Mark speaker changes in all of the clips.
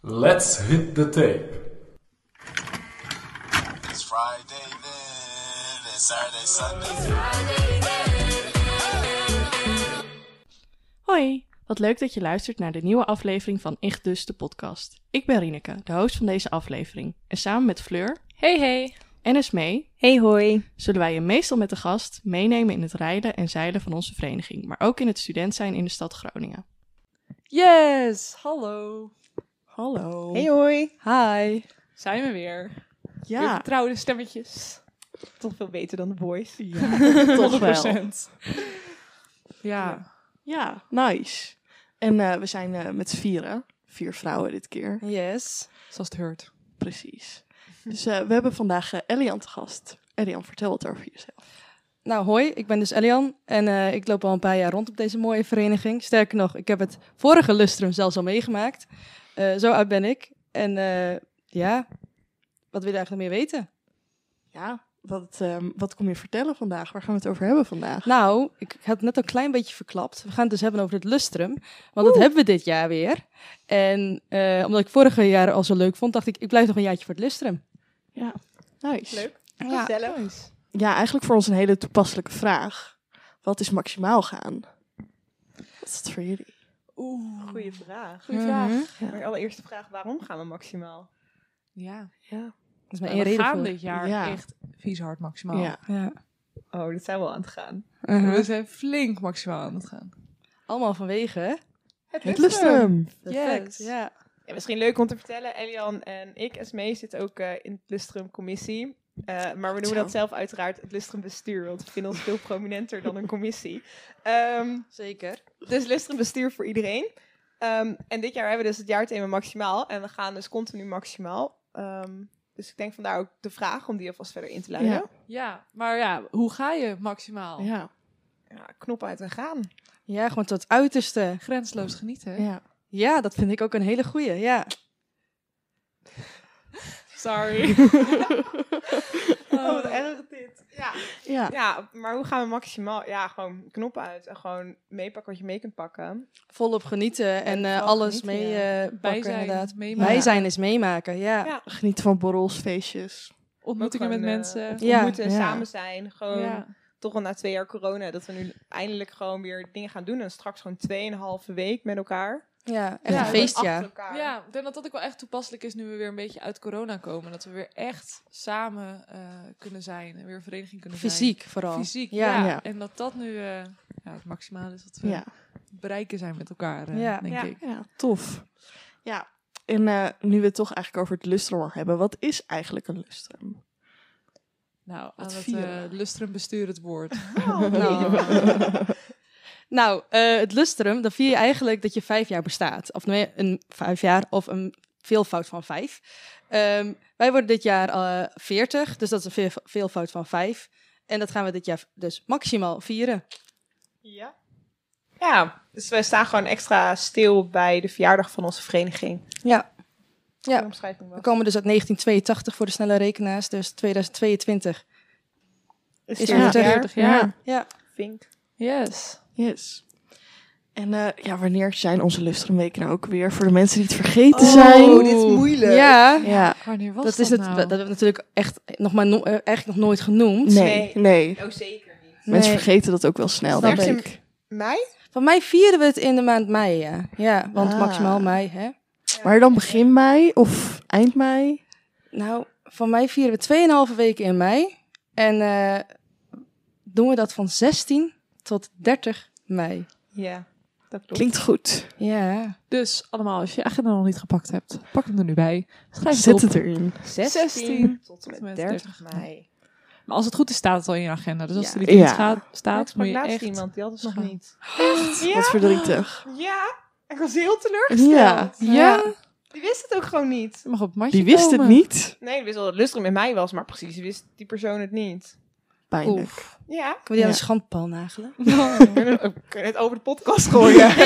Speaker 1: Let's hit the tape.
Speaker 2: It's Friday then, it's Saturday, Sunday.
Speaker 3: Hoi, wat leuk dat je luistert naar de nieuwe aflevering van Ik Dus, de podcast. Ik ben Rieneke, de host van deze aflevering. En samen met Fleur
Speaker 4: Hey hey.
Speaker 3: en Esmee
Speaker 4: Hey hoi.
Speaker 3: zullen wij je meestal met de gast meenemen in het rijden en zeilen van onze vereniging, maar ook in het student zijn in de stad Groningen.
Speaker 4: Yes, hallo.
Speaker 3: Hallo.
Speaker 5: Hey hoi.
Speaker 4: Hi. Zijn we weer. Weer
Speaker 3: ja,
Speaker 4: vertrouwde stemmetjes.
Speaker 5: Toch veel beter dan de boys.
Speaker 3: toch wel.
Speaker 4: 100%. Ja.
Speaker 3: Ja, nice. En eh, we zijn eh, met z'n vieren, vier vrouwen dit keer,
Speaker 4: Yes. Zoals het hoort.
Speaker 3: precies. Dus eh, we hebben vandaag eh, Elian te gast. Elian, vertel wat over jezelf.
Speaker 6: Nou, hoi, ik ben dus Elian en eh, ik loop al een paar jaar rond op deze mooie vereniging. Sterker nog, ik heb het vorige lustrum zelfs al meegemaakt. Eh, zo oud ben ik. En eh, ja, wat wil je eigenlijk meer weten?
Speaker 3: Ja, wat, ehm, wat kom je vertellen vandaag? Waar gaan we het over hebben vandaag?
Speaker 6: Nou, ik had het net al een klein beetje verklapt. We gaan het dus hebben over het lustrum, want dat hebben we dit jaar weer. En eh, omdat ik vorige jaar al zo leuk vond, dacht ik, ik blijf nog een jaartje voor het lustrum.
Speaker 3: Ja, nice.
Speaker 5: Leuk.
Speaker 6: Ja.
Speaker 5: Gezellig.
Speaker 3: Ja, eigenlijk voor ons een hele toepasselijke vraag. Wat is maximaal gaan? Wat is het voor jullie? Mhm.
Speaker 5: Oeh. Goeie vraag.
Speaker 4: Goeie vraag.
Speaker 5: Mijn allereerste vraag, waarom gaan we maximaal?
Speaker 4: Ja.
Speaker 3: Ja.
Speaker 6: Dat is maar één
Speaker 4: We
Speaker 6: reden
Speaker 4: gaan
Speaker 6: voor.
Speaker 4: dit jaar
Speaker 3: Ja.
Speaker 4: echt vies hard maximaal.
Speaker 3: Ja.
Speaker 6: Ja.
Speaker 5: Oh, dat zijn we al aan het gaan.
Speaker 6: Uh-huh.
Speaker 4: We zijn flink maximaal aan het gaan.
Speaker 6: Allemaal vanwege
Speaker 3: Het lustrum.
Speaker 5: Perfect.
Speaker 6: Yes. Ja.
Speaker 5: Ja, misschien leuk om te vertellen, Elian en ik, Esmee, zitten ook eh, in het Lustrum-commissie. Eh, maar we noemen
Speaker 3: Zo.
Speaker 5: dat zelf uiteraard het Lustrum-bestuur, want we vinden ons veel prominenter dan een commissie. Ehm,
Speaker 6: Zeker.
Speaker 5: dus Lustrum-bestuur voor iedereen. Ehm, en dit jaar hebben we dus het jaarthema maximaal en we gaan dus continu maximaal. Ehm, dus ik denk vandaar ook de vraag om die alvast verder in te luiden.
Speaker 3: Ja.
Speaker 4: Ja, maar ja, hoe ga je maximaal?
Speaker 3: Ja.
Speaker 5: Ja, knop uit en gaan.
Speaker 6: Ja, gewoon tot het uiterste.
Speaker 4: Grensloos genieten.
Speaker 3: ja.
Speaker 6: Ja, dat vind ik ook een hele goeie. Ja.
Speaker 4: Sorry.
Speaker 5: Oh, wat erg dit. Ja.
Speaker 3: Ja.
Speaker 5: ja, maar hoe gaan we maximaal... Ja, gewoon knop uit en gewoon meepakken wat je mee kunt pakken.
Speaker 6: Volop genieten en eh,
Speaker 5: vooral
Speaker 6: alles
Speaker 5: genieten,
Speaker 6: mee
Speaker 5: ja.
Speaker 6: eh
Speaker 4: Bij
Speaker 6: pakken
Speaker 4: zijn,
Speaker 6: inderdaad.
Speaker 4: meemaken.
Speaker 6: Wij zijn is meemaken, ja.
Speaker 5: Ja.
Speaker 3: Genieten van borrels, feestjes.
Speaker 4: Ontmoetingen
Speaker 5: Ook
Speaker 4: met
Speaker 5: gewoon, eh,
Speaker 4: mensen.
Speaker 6: Ja,
Speaker 5: ontmoeten en
Speaker 3: ja.
Speaker 5: samen zijn. Gewoon
Speaker 4: Ja.
Speaker 5: toch al na twee jaar corona... dat we nu eindelijk gewoon weer dingen gaan doen. En straks gewoon tweeënhalve week met elkaar.
Speaker 6: Ja, echt
Speaker 4: Ja,
Speaker 6: een
Speaker 4: we
Speaker 5: Achter
Speaker 6: feestjaar.
Speaker 5: elkaar.
Speaker 4: Ja, ik denk dat dat ook wel echt toepasselijk is nu we weer een beetje uit corona komen. Dat we weer echt samen eh, kunnen zijn en weer een vereniging kunnen
Speaker 6: Fysiek
Speaker 4: zijn.
Speaker 6: vooral.
Speaker 4: Fysiek,
Speaker 6: Ja.
Speaker 4: ja.
Speaker 3: Ja.
Speaker 4: En dat dat nu eh, ja, het maximale is wat we
Speaker 3: Ja.
Speaker 4: bereiken zijn met elkaar, eh,
Speaker 6: Ja.
Speaker 4: denk
Speaker 5: Ja.
Speaker 4: ik.
Speaker 3: Ja, tof. Ja. En eh, nu we het toch eigenlijk over het lustrum al hebben. Wat is eigenlijk een lustrum?
Speaker 4: Nou, aan het
Speaker 3: vieren.
Speaker 4: eh, lustrum bestuur het woord.
Speaker 6: Nou, eh, het lustrum, dan vier je eigenlijk dat je vijf jaar bestaat. Of nee, een vijf jaar of een veelvoud van vijf. Ehm, wij worden dit jaar eh 40, dus dat is een veel- veelvoud van vijf. En dat gaan we dit jaar dus maximaal vieren.
Speaker 5: Ja. Ja, dus wij staan gewoon extra stil bij de verjaardag van onze vereniging.
Speaker 6: Ja. Ja.
Speaker 5: De omschrijving was.
Speaker 6: We komen dus uit 1982 voor de snelle rekenaars, dus 2022.
Speaker 5: Is
Speaker 6: is
Speaker 5: het
Speaker 6: het
Speaker 5: jaar?
Speaker 4: 40 jaar.
Speaker 6: Ja.
Speaker 5: Vink.
Speaker 4: Yes.
Speaker 3: Yes. En eh, ja, wanneer zijn onze lustrumweken nou ook weer? Voor de mensen die het
Speaker 6: Oh,
Speaker 3: vergeten zijn. Oh,
Speaker 5: moeilijk.
Speaker 6: Ja,
Speaker 3: Ja.
Speaker 4: Wanneer was
Speaker 6: dat
Speaker 4: dat,
Speaker 6: is het.
Speaker 4: nou?
Speaker 6: Dat hebben we natuurlijk echt nog maar no- eh, eigenlijk nog nooit genoemd.
Speaker 3: Nee.
Speaker 5: Nee.
Speaker 3: Nee.
Speaker 5: Oh, zeker niet.
Speaker 3: Mensen
Speaker 6: Nee.
Speaker 3: vergeten dat ook wel snel,
Speaker 6: Snap
Speaker 3: denk
Speaker 5: ik.
Speaker 3: ik.
Speaker 5: Mei?
Speaker 6: Van mij vieren we het in de maand mei, ja. Ja, want
Speaker 3: Ah.
Speaker 6: maximaal mei, hè.
Speaker 3: Maar dan begin mei of eind mei?
Speaker 6: Nou, van mij vieren we 2,5 weken in mei. En eh, doen we dat van 16 tot 30 mei.
Speaker 5: Ja, dat klopt.
Speaker 3: Klinkt goed.
Speaker 6: Ja.
Speaker 4: Dus allemaal, als je je agenda nog niet gepakt hebt, pak hem er nu bij. Schrijf het
Speaker 3: Zet
Speaker 4: op.
Speaker 3: het erin.
Speaker 5: 16,
Speaker 4: 16
Speaker 5: tot en met 30 mei.
Speaker 4: Maar als het goed is, staat het al in je agenda. Dus als
Speaker 6: Ja.
Speaker 4: er iets niet
Speaker 3: Ja.
Speaker 4: gaat-
Speaker 5: Maar
Speaker 4: staat,
Speaker 5: ik sprak
Speaker 4: moet je
Speaker 5: laatst
Speaker 4: echt...
Speaker 5: iemand, die had het nog
Speaker 4: gaan.
Speaker 5: niet.
Speaker 3: Wat verdrietig.
Speaker 5: Ja, ik was heel teleurgesteld.
Speaker 3: Ja.
Speaker 6: Ja.
Speaker 5: Die wist het ook gewoon niet.
Speaker 4: Je mag op het matje
Speaker 3: Die wist het
Speaker 4: komen.
Speaker 3: niet.
Speaker 5: Nee, die wist wel dat Lustrum met mij was, maar precies wist die persoon het niet.
Speaker 3: Pijnlijk.
Speaker 4: Oef.
Speaker 5: Ja,
Speaker 6: Kunnen we die aan
Speaker 3: Ja.
Speaker 6: de schandpaal nagelen?
Speaker 5: we kunnen we kunnen het over de podcast gooien.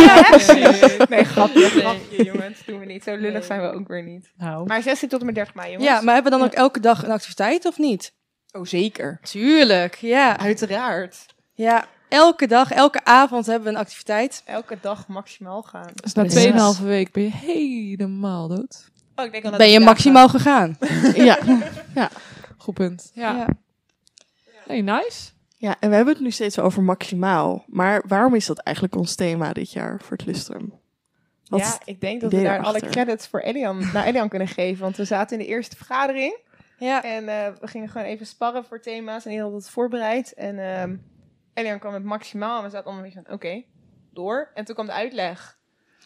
Speaker 5: Nee, grapje, grapje, jongens. doen we niet. Zo lullig
Speaker 6: Nee.
Speaker 5: zijn we ook weer niet.
Speaker 4: Nou,
Speaker 5: Maar 16 tot en met 30 mei, jongens.
Speaker 6: Ja, maar hebben we dan ook elke dag een activiteit of niet?
Speaker 5: Oh, zeker.
Speaker 6: Tuurlijk, ja.
Speaker 5: Uiteraard.
Speaker 6: Ja, elke dag, elke avond hebben we een activiteit.
Speaker 5: Elke dag maximaal gaan.
Speaker 4: Dus na
Speaker 3: Precies.
Speaker 4: 2,5 week ben je helemaal dood.
Speaker 5: Oh, ik denk al na
Speaker 6: Ben
Speaker 5: drie
Speaker 6: je
Speaker 5: dagen.
Speaker 6: maximaal gegaan?
Speaker 3: Ja.
Speaker 4: Goed punt. Ja. Hey, nice.
Speaker 3: ja, en we hebben het nu steeds over maximaal. Maar waarom is dat eigenlijk ons thema dit jaar voor het Lustrum? Wat
Speaker 5: Ja,
Speaker 3: is-
Speaker 5: ik denk dat we
Speaker 3: idee
Speaker 5: daar
Speaker 3: daarachter?
Speaker 5: alle credits voor Elian, naar Elian kunnen geven. Want we zaten in de eerste vergadering.
Speaker 6: Ja.
Speaker 5: En eh, we gingen gewoon even sparren voor thema's en heel had het voorbereid. En ehm Elian kwam met maximaal en we zaten allemaal een beetje van, oké, door. En toen kwam de uitleg.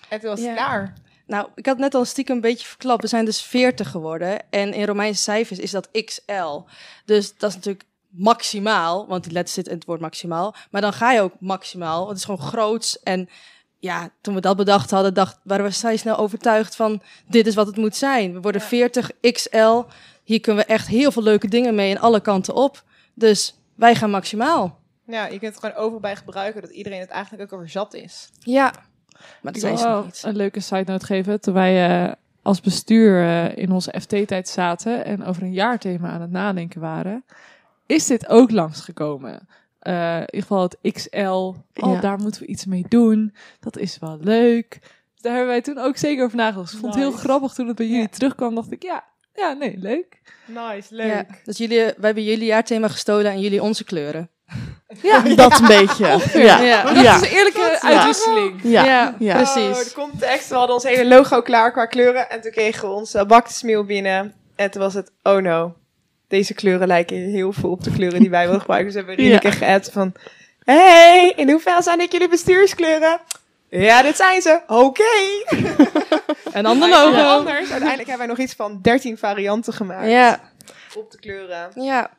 Speaker 5: En toen was het
Speaker 6: Ja.
Speaker 5: klaar.
Speaker 6: Nou, ik had net al stiekem een beetje verklapt. We zijn dus 40 geworden. En in Romeinse cijfers is dat XL. Dus dat is natuurlijk maximaal. Want die letter zit in het woord maximaal. Maar dan ga je ook maximaal. Want het is gewoon groots. En ja, toen we dat bedacht hadden, dacht, waren we vrij snel overtuigd van... dit is wat het moet zijn. We worden 40 XL. Hier kunnen we echt heel veel leuke dingen mee. En alle kanten op. Dus wij gaan maximaal.
Speaker 5: Ja, je kunt het gewoon overal bij gebruiken dat iedereen het eigenlijk ook over zat is.
Speaker 6: Ja. Maar dat
Speaker 4: Ik
Speaker 6: zijn
Speaker 4: wil
Speaker 6: ze nog
Speaker 4: wel
Speaker 6: niet.
Speaker 4: een leuke side note geven. Toen wij eh, als bestuur eh, in onze FT-tijd zaten en over een jaarthema aan het nadenken waren, is dit ook langsgekomen. Eh, in ieder geval het XL. Oh,
Speaker 3: Ja.
Speaker 4: daar moeten we iets mee doen. Dat is wel leuk. Dus daar hebben wij toen ook zeker over nagedacht. Dus Ik vond het heel
Speaker 5: Nice.
Speaker 4: grappig toen het bij jullie
Speaker 5: Ja.
Speaker 4: terugkwam. Dacht ik, ja, ja, nee, leuk.
Speaker 5: Nice,
Speaker 6: Ja, dus jullie, wij hebben jullie jaarthema gestolen en jullie onze kleuren.
Speaker 3: Dat een beetje. Ja.
Speaker 6: Ja.
Speaker 4: Dat
Speaker 3: Ja.
Speaker 4: is een eerlijke
Speaker 5: ja.
Speaker 4: uitwisseling.
Speaker 3: Ja.
Speaker 6: ja.
Speaker 5: Oh,
Speaker 6: precies.
Speaker 5: de context. We hadden ons hele logo klaar qua kleuren. En toen kregen we onze baktesmeal binnen. En toen was het, oh no. Deze kleuren lijken heel veel op de kleuren die wij wilden gebruiken. Dus hebben we
Speaker 3: Ja.
Speaker 5: Rienke geappt van... Hey, in hoeverre zijn dit jullie bestuurskleuren? Ja, dit zijn ze. Oké.
Speaker 6: Een ander
Speaker 5: Maar
Speaker 6: logo.
Speaker 5: heel Anders. Uiteindelijk hebben wij nog iets van 13 varianten gemaakt
Speaker 6: Ja,
Speaker 5: op de kleuren.
Speaker 6: ja,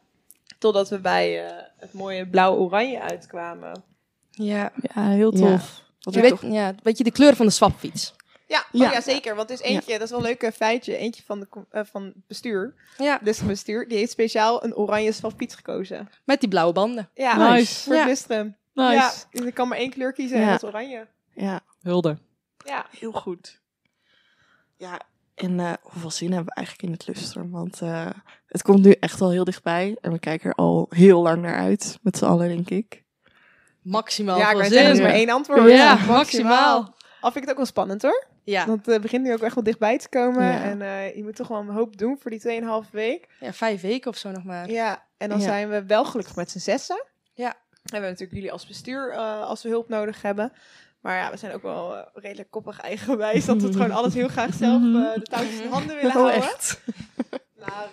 Speaker 5: Totdat we bij eh, het mooie blauw-oranje uitkwamen.
Speaker 6: ja.
Speaker 4: Ja, heel
Speaker 3: Ja. Wat
Speaker 6: Je
Speaker 3: ik
Speaker 6: weet,
Speaker 3: toch-
Speaker 6: ja, een beetje de kleur van de swapfiets.
Speaker 5: Ja, oh
Speaker 3: Ja.
Speaker 5: ja. ja zeker. Want er is eentje, dat is wel een leuk eh, feitje, eentje van, de, com- eh, van het bestuur.
Speaker 6: Ja,
Speaker 5: Dus het bestuur, die heeft speciaal een oranje swapfiets gekozen.
Speaker 6: met die blauwe banden.
Speaker 5: Ja,
Speaker 4: Nice.
Speaker 5: voor het
Speaker 6: Ja.
Speaker 5: lustrum.
Speaker 4: Nice.
Speaker 5: Ja, dus ik kan maar één kleur kiezen
Speaker 3: Ja.
Speaker 5: en dat is oranje.
Speaker 3: ja,
Speaker 4: Hulde.
Speaker 5: Ja,
Speaker 3: heel goed. Ja, en eh, hoeveel zin hebben we eigenlijk in het Lustrum? Want eh, het komt nu echt al heel dichtbij. En we kijken er al heel lang naar uit. Met z'n allen, denk ik.
Speaker 6: Maximaal
Speaker 5: ja ik
Speaker 6: veel
Speaker 5: wou
Speaker 6: zin.
Speaker 5: zeggen, dat is maar
Speaker 3: Ja.
Speaker 5: één antwoord.
Speaker 6: Ja, maximaal.
Speaker 5: Al vind ik het ook wel spannend hoor.
Speaker 6: Ja.
Speaker 5: Want eh, het begint nu ook echt wel dichtbij te komen.
Speaker 3: Ja.
Speaker 5: En eh, je moet toch wel een hoop doen voor die 2,5 week.
Speaker 6: ja, vijf weken of zo nog maar.
Speaker 5: Ja, en dan
Speaker 3: Ja.
Speaker 5: zijn we wel gelukkig met z'n zessen.
Speaker 6: Ja.
Speaker 5: En we hebben natuurlijk jullie als bestuur eh, als we hulp nodig hebben. Maar ja, we zijn ook wel eh, redelijk koppig eigenwijs. Dat we het gewoon alles heel graag zelf eh, de touwtjes in handen
Speaker 3: Oh,
Speaker 5: willen houden. Maar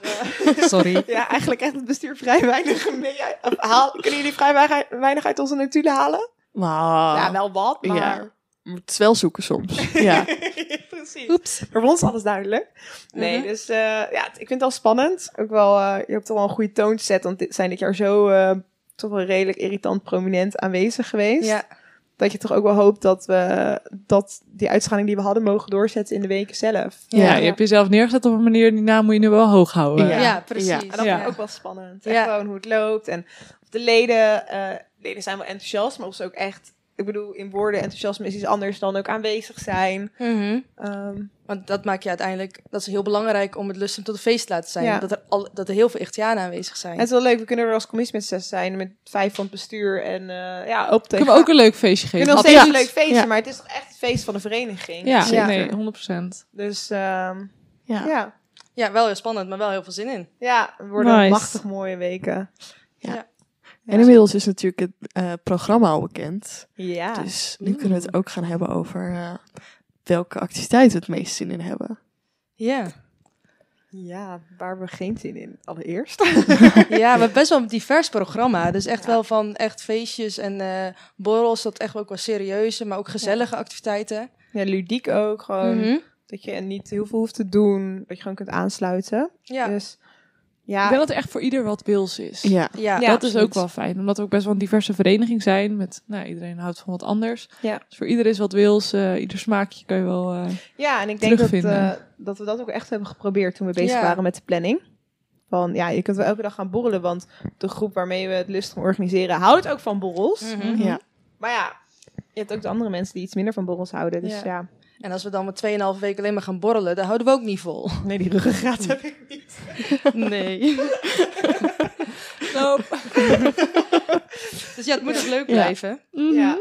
Speaker 5: eh,
Speaker 6: Sorry.
Speaker 5: ja, eigenlijk echt het bestuur vrij weinig mee. uit- of haal- kunnen jullie vrij weinig- weinig uit onze notulen halen?
Speaker 3: Maar
Speaker 5: Ja, nou. wel wat,
Speaker 3: Ah.
Speaker 5: maar...
Speaker 3: Ja. het is wel zoeken soms. Ja.
Speaker 5: Precies.
Speaker 6: Oeps.
Speaker 5: Voor ons alles duidelijk. Nee,
Speaker 6: Mhm.
Speaker 5: dus eh, ja, het- ik vind het wel spannend. Ook wel, eh, je hebt toch wel een goede toon gezet. Want dit zijn dit jaar zo eh, toch wel redelijk irritant prominent aanwezig geweest.
Speaker 6: Ja,
Speaker 5: Dat je toch ook wel hoopt dat we dat die uitschaling die we hadden mogen doorzetten in de weken zelf.
Speaker 4: Ja,
Speaker 3: Ja.
Speaker 4: je hebt jezelf neergezet op een manier, die naam moet je nu wel hoog houden.
Speaker 3: Ja.
Speaker 6: ja.
Speaker 3: Ja.
Speaker 6: precies.
Speaker 5: En dat
Speaker 4: Ja.
Speaker 5: vond ik ook wel spannend.
Speaker 6: Ja.
Speaker 5: En gewoon hoe het loopt. En of de leden, eh, leden zijn wel enthousiast, maar of ze ook echt... Ik bedoel, in woorden enthousiasme is iets anders dan ook aanwezig zijn.
Speaker 6: Mhm.
Speaker 5: Ehm,
Speaker 6: Want dat maakt je uiteindelijk, dat is heel belangrijk om het lusten tot een feest te laten zijn.
Speaker 5: Ja.
Speaker 6: Dat, er al, dat er heel veel Echtianen aanwezig zijn.
Speaker 5: het is wel leuk, we kunnen er als commissie met zes zijn, met vijf van het bestuur. En eh, ja, op tegen...
Speaker 4: Kunnen we ook een leuk feestje
Speaker 5: We
Speaker 4: geven?
Speaker 5: kunnen nog steeds een
Speaker 3: Absoluut.
Speaker 5: leuk feestje,
Speaker 3: Ja.
Speaker 5: maar het is toch echt het feest van de vereniging.
Speaker 4: Ja,
Speaker 3: Ja.
Speaker 4: nee, 100 procent.
Speaker 5: Dus ehm,
Speaker 3: Ja. ja.
Speaker 5: ja.
Speaker 6: Ja, wel heel spannend, maar wel heel veel zin in.
Speaker 5: Ja, het worden
Speaker 4: Nice.
Speaker 5: machtig mooie weken.
Speaker 3: En inmiddels is natuurlijk het eh, programma al bekend.
Speaker 5: Ja.
Speaker 3: Dus nu kunnen we het ook gaan hebben over eh, welke activiteiten we het meest zin in hebben.
Speaker 6: Ja.
Speaker 5: ja, waar we geen zin in allereerst.
Speaker 6: Ja, maar best wel een divers programma. Dus echt wel van echt feestjes en eh borrels, dat echt ook wel serieuze, maar ook gezellige activiteiten.
Speaker 5: ja, ludiek ook gewoon.
Speaker 6: Mhm.
Speaker 5: Dat je niet heel veel hoeft te doen. Dat je gewoon kunt aansluiten.
Speaker 6: Ja,
Speaker 5: Dus ja,
Speaker 4: Ik denk dat er echt voor ieder wat wils is.
Speaker 3: Ja.
Speaker 6: ja.
Speaker 5: Ja.
Speaker 6: ja.
Speaker 4: dat is ook wel fijn, omdat we ook best wel een diverse vereniging zijn. Met, nou, iedereen houdt van wat anders.
Speaker 5: Ja.
Speaker 4: Dus voor ieder is wat wils, eh, ieder smaakje kan je wel... eh,
Speaker 5: ja en ik denk dat,
Speaker 4: terugvinden.
Speaker 5: eh, dat we dat ook echt hebben geprobeerd toen we bezig
Speaker 6: Ja.
Speaker 5: waren met de planning. Van ja, je kunt wel elke dag gaan borrelen. Want de groep waarmee we het lustrum organiseren houdt ook van borrels.
Speaker 6: Mhm.
Speaker 3: Ja.
Speaker 5: Maar ja, je hebt ook de andere mensen die iets minder van borrels houden. Dus
Speaker 6: Ja.
Speaker 5: ja,
Speaker 6: En als we dan met 2,5 weken alleen maar gaan borrelen, daar houden we ook niet vol.
Speaker 5: nee, die ruggengraat heb ik niet.
Speaker 6: Nee.
Speaker 4: Nope.
Speaker 6: Dus ja, het moet ook leuk
Speaker 3: Ja.
Speaker 6: blijven. Mhm.
Speaker 5: Ja.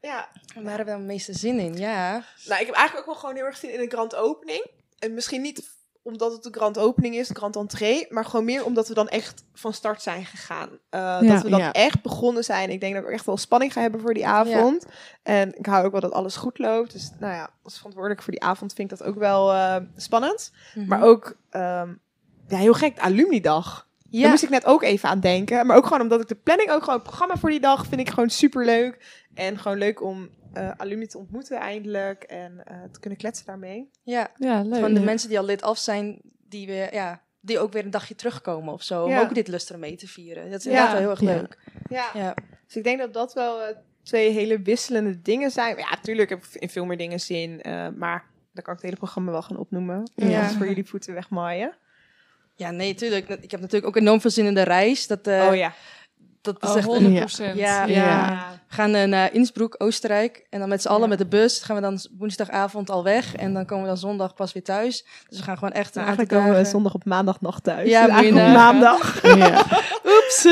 Speaker 5: ja.
Speaker 6: Waar hebben we dan de meeste zin in? Ja.
Speaker 5: Nou, ik heb eigenlijk ook wel gewoon heel erg zin in een grand opening. En misschien niet omdat het een grand opening is, een grand entree, maar gewoon meer omdat we dan echt van start zijn gegaan. Eh, dat we dan
Speaker 3: ja.
Speaker 5: echt begonnen zijn. Ik denk dat we echt wel spanning gaan hebben voor die avond. En ik hou ook wel dat alles goed loopt. Dus nou ja, als verantwoordelijk voor die avond vind ik dat ook wel eh, spannend.
Speaker 6: Mhm.
Speaker 5: Maar ook, ehm, ja, heel gek, de alumni-dag. Daar
Speaker 6: Ja.
Speaker 5: moest ik net ook even aan denken. Maar ook gewoon omdat ik de planning ook gewoon, het programma voor die dag vind ik gewoon super leuk. En gewoon leuk om eh, alumni te ontmoeten eindelijk. En eh, te kunnen kletsen daarmee.
Speaker 6: ja.
Speaker 4: Ja, leuk.
Speaker 6: Van de mensen die al lid af zijn, die, weer, ja, die ook weer een dagje terugkomen of zo. Om
Speaker 5: Ja.
Speaker 6: ook dit lustrum mee te vieren. Dat is
Speaker 5: Ja.
Speaker 6: inderdaad wel heel erg
Speaker 3: Ja.
Speaker 6: leuk.
Speaker 5: Ja.
Speaker 6: Ja.
Speaker 5: Dus ik denk dat dat wel eh, twee hele wisselende dingen zijn. Maar ja, natuurlijk heb ik in veel meer dingen zin. eh, maar dan kan ik het hele programma wel gaan opnoemen.
Speaker 3: Ja.
Speaker 5: Ja. voor jullie voeten wegmaaien.
Speaker 6: ja, nee, tuurlijk. Ik heb natuurlijk ook enorm veel zin in de reis. Dat, eh,
Speaker 5: oh ja.
Speaker 6: dat is
Speaker 4: Oh,
Speaker 6: echt
Speaker 4: 100%.
Speaker 6: Ja.
Speaker 3: Ja.
Speaker 6: We gaan eh, naar Innsbruck, Oostenrijk. En dan met z'n allen
Speaker 5: Ja.
Speaker 6: met de bus. Gaan we dan woensdagavond al weg. En dan komen we dan zondag pas weer thuis. Dus we gaan gewoon echt een
Speaker 5: eigenlijk
Speaker 6: aantal
Speaker 5: komen we
Speaker 6: dagen-
Speaker 5: zondag op maandag nog thuis.
Speaker 6: Ja,
Speaker 5: Dus
Speaker 6: moet je
Speaker 5: eigenlijk op
Speaker 6: nagaan.
Speaker 5: maandag.
Speaker 3: Ja.
Speaker 6: Oeps.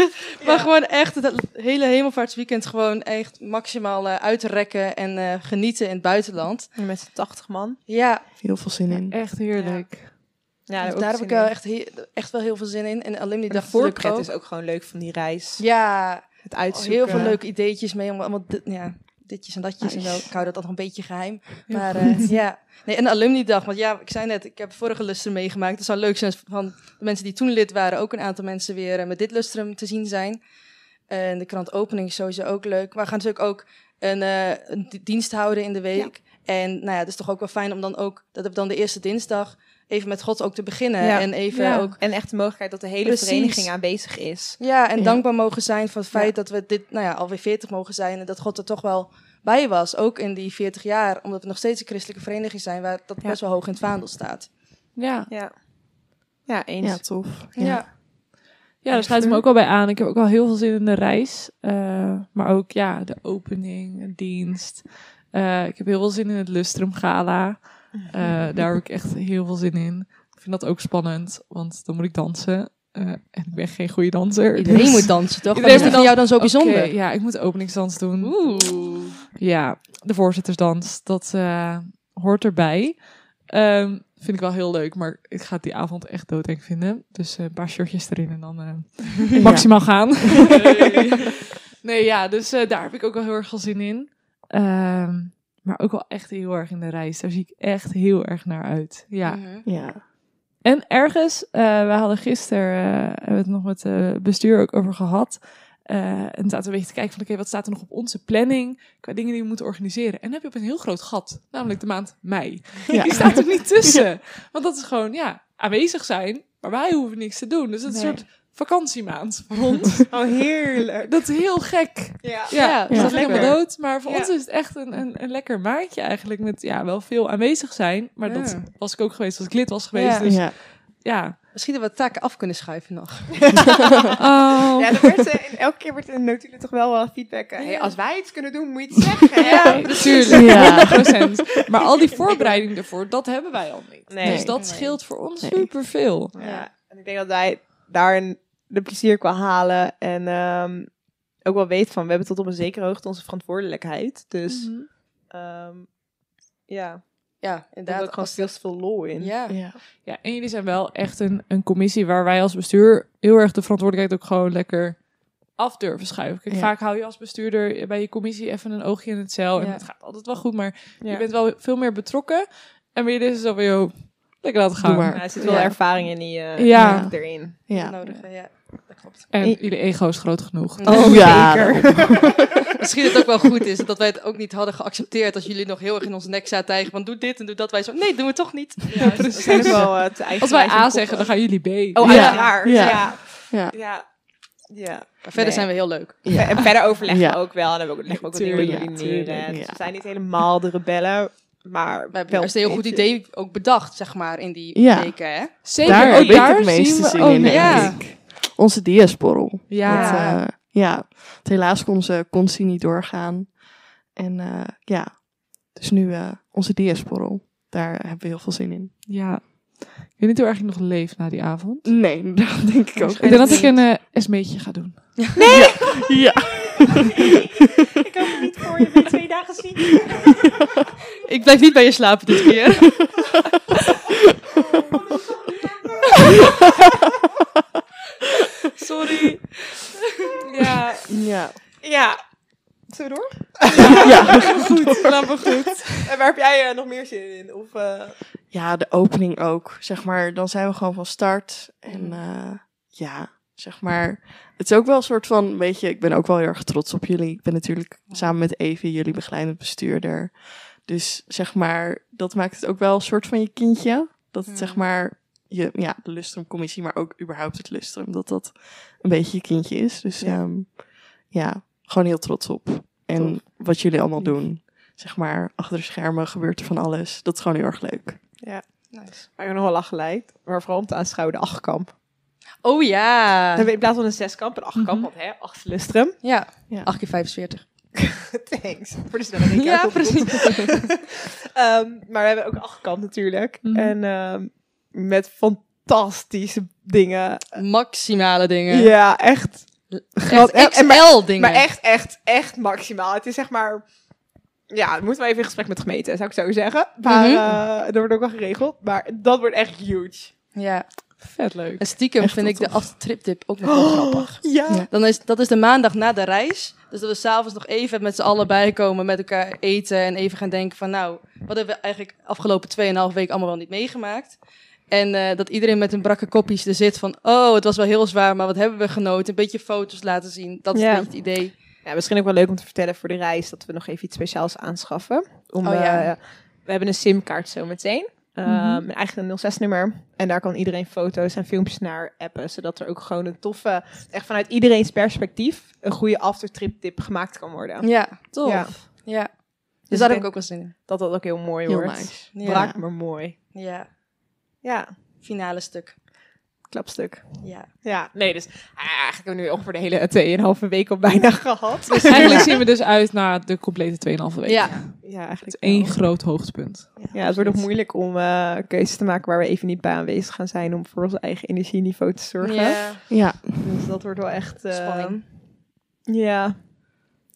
Speaker 6: Maar gewoon echt het hele hemelvaartsweekend gewoon echt maximaal eh, uitrekken en eh, genieten in het buitenland.
Speaker 5: Met z'n 80 man.
Speaker 6: Ja,
Speaker 3: Heel veel zin in.
Speaker 4: Echt heerlijk.
Speaker 5: Ja,
Speaker 6: dus daar heb ik wel echt, he- echt wel heel veel zin in. En alleen die
Speaker 5: De
Speaker 6: dag natuurlijk
Speaker 5: voorpret
Speaker 6: ook.
Speaker 5: is ook gewoon leuk van die reis.
Speaker 6: Ja,
Speaker 5: Het
Speaker 6: al
Speaker 5: uitzoeken.
Speaker 6: heel veel leuke ideetjes mee. om Allemaal dit, ja, ditjes en datjes. En
Speaker 3: Nice.
Speaker 6: wel, ik hou dat nog een beetje geheim.
Speaker 4: Heel
Speaker 6: maar eh, ja. Nee, en de alumni-dag. Want ja, ik zei net, ik heb vorige lustrum meegemaakt. Het zou leuk zijn als van de mensen die toen lid waren... ook een aantal mensen weer eh, met dit lustrum te zien zijn. En de krantopening is sowieso ook leuk. Maar we gaan natuurlijk ook een, eh, een di- dienst houden in de week. En nou ja, het is toch ook wel fijn om dan ook... dat heb dan de eerste dinsdag even met God ook te beginnen.
Speaker 5: Ja.
Speaker 6: En even
Speaker 4: Ja.
Speaker 6: ook...
Speaker 5: En echt de mogelijkheid dat de hele
Speaker 6: Precies.
Speaker 5: vereniging aanwezig is.
Speaker 6: Ja, en
Speaker 3: Ja.
Speaker 6: dankbaar mogen zijn van het feit dat we dit, nou ja, alweer 40 mogen zijn. En dat God er toch wel bij was. Ook in die 40 jaar. Omdat we nog steeds een christelijke vereniging zijn waar dat
Speaker 5: Ja.
Speaker 6: best wel hoog in het vaandel staat.
Speaker 4: Ja.
Speaker 5: Ja, ja eens.
Speaker 3: Ja, tof.
Speaker 6: Ja.
Speaker 4: Ja, daar sluit ik me ook wel bij aan. Ik heb ook al heel veel zin in de reis. Eh, maar ook ja, de opening, de dienst. Eh, ik heb heel veel zin in het Lustrum Gala. Eh, daar heb ik echt heel veel zin in. Ik vind dat ook spannend, want dan moet ik dansen. Eh, en ik ben geen goede danser.
Speaker 6: Iedereen
Speaker 4: dus-
Speaker 6: moet dansen, toch? Wat
Speaker 4: Iedereen
Speaker 6: is er
Speaker 4: moet
Speaker 6: van jou dan zo bijzonder?
Speaker 4: Oké, ja, ik moet openingsdans doen.
Speaker 6: Oeh.
Speaker 4: Ja, de voorzittersdans, dat eh, hoort erbij. Ehm, vind ik wel heel leuk, maar ik ga het die avond echt doodeng vinden. Dus eh, een paar shirtjes erin en dan eh, maximaal gaan. nee, ja, dus eh, daar heb ik ook wel heel erg veel zin in. Ehm, maar ook wel echt heel erg in de reis. Daar zie ik echt heel erg naar uit. Ja.
Speaker 6: Mhm.
Speaker 3: Ja.
Speaker 4: En ergens, eh we hadden gisteren, eh, hebben we het nog met het bestuur ook over gehad. Eh, en zaten we een beetje te kijken van, oké, wat staat er nog op onze planning qua dingen die we moeten organiseren? En dan heb je op een heel groot gat, namelijk de maand mei.
Speaker 3: Ja.
Speaker 4: Die staat er niet tussen. Want dat is gewoon, ja, aanwezig zijn, maar wij hoeven niks te doen. Dus dat is een
Speaker 3: Nee.
Speaker 4: soort vakantiemaand voor ons.
Speaker 5: Oh, heerlijk.
Speaker 4: dat is heel gek.
Speaker 5: Ja.
Speaker 4: Ja,
Speaker 6: Ja,
Speaker 4: dus
Speaker 3: ja.
Speaker 4: dat is
Speaker 6: lekker.
Speaker 4: helemaal dood. Maar voor
Speaker 5: Ja.
Speaker 4: ons is het echt een, een, een lekker maandje eigenlijk. Met ja, wel veel aanwezig zijn. Maar dat
Speaker 6: Ja.
Speaker 4: was ik ook geweest als ik lid was geweest.
Speaker 6: Ja.
Speaker 4: Dus
Speaker 3: Ja.
Speaker 4: ja.
Speaker 6: Misschien dat we taken af kunnen schuiven nog.
Speaker 4: Oh.
Speaker 5: Ja, er werd, eh, in- elke keer werd in de notulen toch wel eh, feedback. eh, hey, als wij iets kunnen doen, moet je het zeggen. hè?
Speaker 4: Ja, natuurlijk.
Speaker 3: Ja.
Speaker 4: 100%. Maar al die voorbereiding daarvoor, dat hebben wij al niet.
Speaker 5: Nee.
Speaker 4: Dus dat
Speaker 6: Nee.
Speaker 4: scheelt voor ons
Speaker 3: Nee.
Speaker 4: superveel.
Speaker 5: Ja, En ik denk dat wij daarin de plezier qua halen. En ehm, ook wel weet van, we hebben tot op een zekere hoogte onze verantwoordelijkheid. Dus ehm, ja,
Speaker 6: Ja,
Speaker 5: daar heb
Speaker 6: inderdaad.
Speaker 5: ik gewoon veel te veel lol in.
Speaker 6: Ja.
Speaker 3: Ja.
Speaker 4: Ja, en jullie zijn wel echt een, een commissie waar wij als bestuur heel erg de verantwoordelijkheid ook gewoon lekker af durven schuiven. Kijk,
Speaker 3: Ja.
Speaker 4: vaak hou je als bestuurder bij je commissie even een oogje in het zeil. En
Speaker 6: Ja.
Speaker 4: het gaat altijd wel goed, maar
Speaker 5: Ja.
Speaker 4: je bent wel veel meer betrokken. En weer dit is dan weer, joh, lekker laten gaan.
Speaker 3: Doe maar.
Speaker 5: Ja, Nou, er zit wel
Speaker 6: Ja.
Speaker 5: ervaring in die, eh,
Speaker 4: Ja.
Speaker 5: erin.
Speaker 6: Dat
Speaker 3: Ja.
Speaker 6: nodig, eh, ja. Dat klopt.
Speaker 4: En
Speaker 5: I-
Speaker 4: jullie ego is groot genoeg.
Speaker 3: Oh ja.
Speaker 6: Misschien dat het ook wel goed is dat wij het ook niet hadden geaccepteerd als jullie nog heel erg in ons nek zaten tijgen van doe dit en doe dat. Wij zo, nee, doen we toch niet.
Speaker 5: Ja, precies. We zijn ook wel eh, te
Speaker 4: Als wij
Speaker 5: eigenwijs
Speaker 4: A
Speaker 5: en
Speaker 4: zeggen, dan
Speaker 5: koppig.
Speaker 4: gaan jullie B.
Speaker 5: Oh,
Speaker 3: Ja.
Speaker 5: uiteraard.
Speaker 3: Ja.
Speaker 5: Ja.
Speaker 3: Ja.
Speaker 5: Ja. ja.
Speaker 6: Maar verder
Speaker 5: Nee.
Speaker 6: zijn we heel leuk.
Speaker 5: Ver- En verder overleggen
Speaker 3: Ja.
Speaker 5: we ook wel. En hebben we ook, leggen we ook
Speaker 4: Tuurlijk,
Speaker 5: wat dingen
Speaker 3: ja,
Speaker 5: neer.
Speaker 3: tuurlijk,
Speaker 5: hè. Dus
Speaker 3: ja.
Speaker 5: we zijn niet helemaal de rebellen, maar
Speaker 6: We hebben
Speaker 5: wel
Speaker 6: juist een heel goed
Speaker 5: beetje.
Speaker 6: idee ook bedacht, zeg maar, in die
Speaker 3: Ja.
Speaker 6: weken, hè?
Speaker 4: Zeker,
Speaker 3: oh, daar oh,
Speaker 4: ook
Speaker 3: heb
Speaker 4: daar
Speaker 3: ik het meeste
Speaker 4: zien we
Speaker 3: zin
Speaker 4: ook-
Speaker 3: in, denk
Speaker 4: ja.
Speaker 3: ik. Onze diasporrel.
Speaker 4: Ja.
Speaker 3: Want, eh, ja, want helaas kon ze kon ze niet doorgaan. En eh, ja, dus nu eh, onze diasporrel. Daar hebben we heel veel zin in.
Speaker 4: Ja. Ik weet niet hoe erg ik nog leef na die avond.
Speaker 3: Nee, dat denk ik ook.
Speaker 4: Ik denk dat ik een eh SM'tje ga doen.
Speaker 3: Ja.
Speaker 5: Ik hoop het niet voor je bent twee dagen ziek.
Speaker 6: eh, Ik blijf niet bij je slapen dit keer. Sorry.
Speaker 5: Ja.
Speaker 3: Ja.
Speaker 5: Ja. Zullen we door?
Speaker 3: ja.
Speaker 5: Goed, laat me goed. En waar heb jij eh, nog meer zin in? Of, eh,
Speaker 3: Ja, de opening ook. Zeg maar, dan zijn we gewoon van start. En eh, ja, zeg maar. Het is ook wel een soort van, weet je, ik ben ook wel heel erg trots op jullie. Ik ben natuurlijk samen met Evi jullie begeleidend bestuurder. Dus zeg maar, dat maakt het ook wel een soort van je kindje. Dat het zeg maar, je, ja, de lustrumcommissie, maar ook überhaupt het lustrum, dat dat een beetje je kindje is. Dus ja, ja gewoon heel trots op. En wat jullie allemaal doen. Zeg maar, achter de schermen gebeurt er van alles. Dat is gewoon heel erg leuk.
Speaker 5: waar ik nog wel lachen lijkt. Maar vooral om te aanschouwen, de achtkamp.
Speaker 6: Oh ja.
Speaker 5: Dan hebben we in plaats van een zeskamp, een achtkamp. Want hè, acht lustrum.
Speaker 6: Ja,
Speaker 3: Ja.
Speaker 6: 8 keer 45.
Speaker 5: Thanks. Voor de snelle rekening.
Speaker 6: Ja, precies.
Speaker 5: Ehm, maar we hebben ook achtkamp natuurlijk.
Speaker 4: Mhm.
Speaker 5: En ehm, met fantastische dingen.
Speaker 6: Maximale dingen.
Speaker 5: Ja, echt.
Speaker 6: Echt
Speaker 5: Echt, en- en-
Speaker 6: XL dingen.
Speaker 5: Maar echt, echt, echt maximaal. Het is zeg maar... Ja, dat moeten we even in gesprek met de gemeente, zou ik zo zeggen. Maar
Speaker 6: Mhm.
Speaker 5: eh, dat wordt ook wel geregeld. Maar dat wordt echt huge.
Speaker 6: Ja.
Speaker 4: Vet leuk.
Speaker 6: En stiekem
Speaker 3: Echt
Speaker 6: vind
Speaker 3: wel
Speaker 6: ik de
Speaker 3: tof.
Speaker 6: aftripdip ook nog wel grappig.
Speaker 5: Ja.
Speaker 6: Dan is, dat is de maandag na de reis. Dus dat we s'avonds nog even met z'n allen bijkomen, met elkaar eten en even gaan denken van nou, wat hebben we eigenlijk afgelopen 2,5 week allemaal wel niet meegemaakt. En eh, dat iedereen met een brakke kopjes er zit van oh, het was wel heel zwaar, maar wat hebben we genoten. Een beetje foto's laten zien, dat is
Speaker 5: Ja.
Speaker 6: een beetje het idee.
Speaker 5: Ja, misschien ook wel leuk om te vertellen voor de reis dat we nog even iets speciaals aanschaffen. Om,
Speaker 6: Oh ja.
Speaker 5: eh, we hebben een simkaart zo meteen. Ehm,
Speaker 4: Mhm.
Speaker 5: Een eigen 06-nummer. En daar kan iedereen foto's en filmpjes naar appen. Zodat er ook gewoon een toffe, echt vanuit iedereen's perspectief, een goede aftertrip tip gemaakt kan worden.
Speaker 6: Ja, tof.
Speaker 5: Ja.
Speaker 6: Ja. Dus,
Speaker 5: Dus
Speaker 6: daar
Speaker 5: ik
Speaker 6: heb ik ook wel zin in.
Speaker 5: Dat dat ook heel mooi
Speaker 3: Heel
Speaker 5: wordt.
Speaker 3: nice.
Speaker 6: Ja.
Speaker 5: Braak maar mooi.
Speaker 6: Ja,
Speaker 5: Ja,
Speaker 6: finale stuk.
Speaker 5: klapstuk.
Speaker 6: Ja.
Speaker 5: Ja, nee, dus ah, eigenlijk hebben we nu ongeveer de hele tweeënhalve week al bijna gehad. Dus
Speaker 4: Eigenlijk zien we dus uit naar de complete 2,5 week.
Speaker 6: Ja.
Speaker 5: ja, eigenlijk
Speaker 4: Eén
Speaker 5: wel.
Speaker 4: groot hoogtepunt.
Speaker 5: Ja, het wordt ook moeilijk om eh, keuzes te maken waar we even niet bij aanwezig gaan zijn om voor ons eigen energieniveau te zorgen.
Speaker 6: Ja.
Speaker 3: Ja,
Speaker 5: Dus dat wordt wel echt eh,
Speaker 6: Spanning.
Speaker 5: Ja.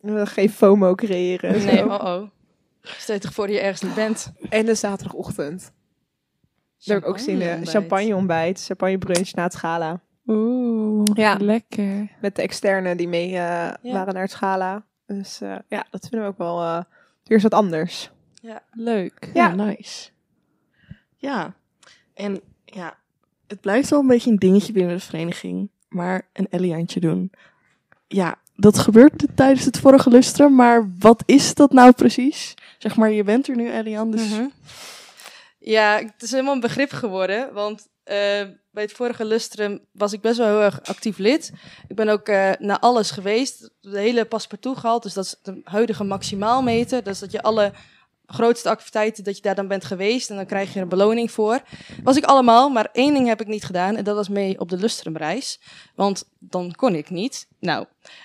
Speaker 5: We willen Geen FOMO creëren. en
Speaker 6: Nee,
Speaker 5: zo.
Speaker 6: oh oh. Stel je toch voor dat je ergens niet bent.
Speaker 5: En de zaterdagochtend. Daar heb ik ook zin in.
Speaker 6: Champagneontbijt.
Speaker 5: Champagne ontbijt, champagne brunch na het gala.
Speaker 4: Oeh,
Speaker 5: Ja.
Speaker 4: lekker.
Speaker 5: Met de externen die mee eh, waren naar het gala. Dus eh, ja, dat vinden we ook wel eh, weer eens wat anders.
Speaker 4: Leuk.
Speaker 5: Ja.
Speaker 3: ja, nice. Ja, en ja, het blijft wel een beetje een dingetje binnen de vereniging. Maar een Elliantje doen. Ja, dat gebeurt tijdens het vorige lustrum, maar wat is dat nou precies? Zeg maar, je bent er nu, Elian, dus...
Speaker 6: Mhm. Ja, het is helemaal een begrip geworden. Want eh, bij het vorige Lustrum was ik best wel heel erg actief lid. Ik ben ook eh, naar alles geweest. De hele paspartout gehaald. Dus dat is de huidige maximaalmeter. Dus dat je alle grootste activiteiten, dat je daar dan bent geweest. En dan krijg je een beloning voor. Was ik allemaal, maar één ding heb ik niet gedaan. En dat was mee op de Lustrumreis. Want dan kon ik niet. Nou,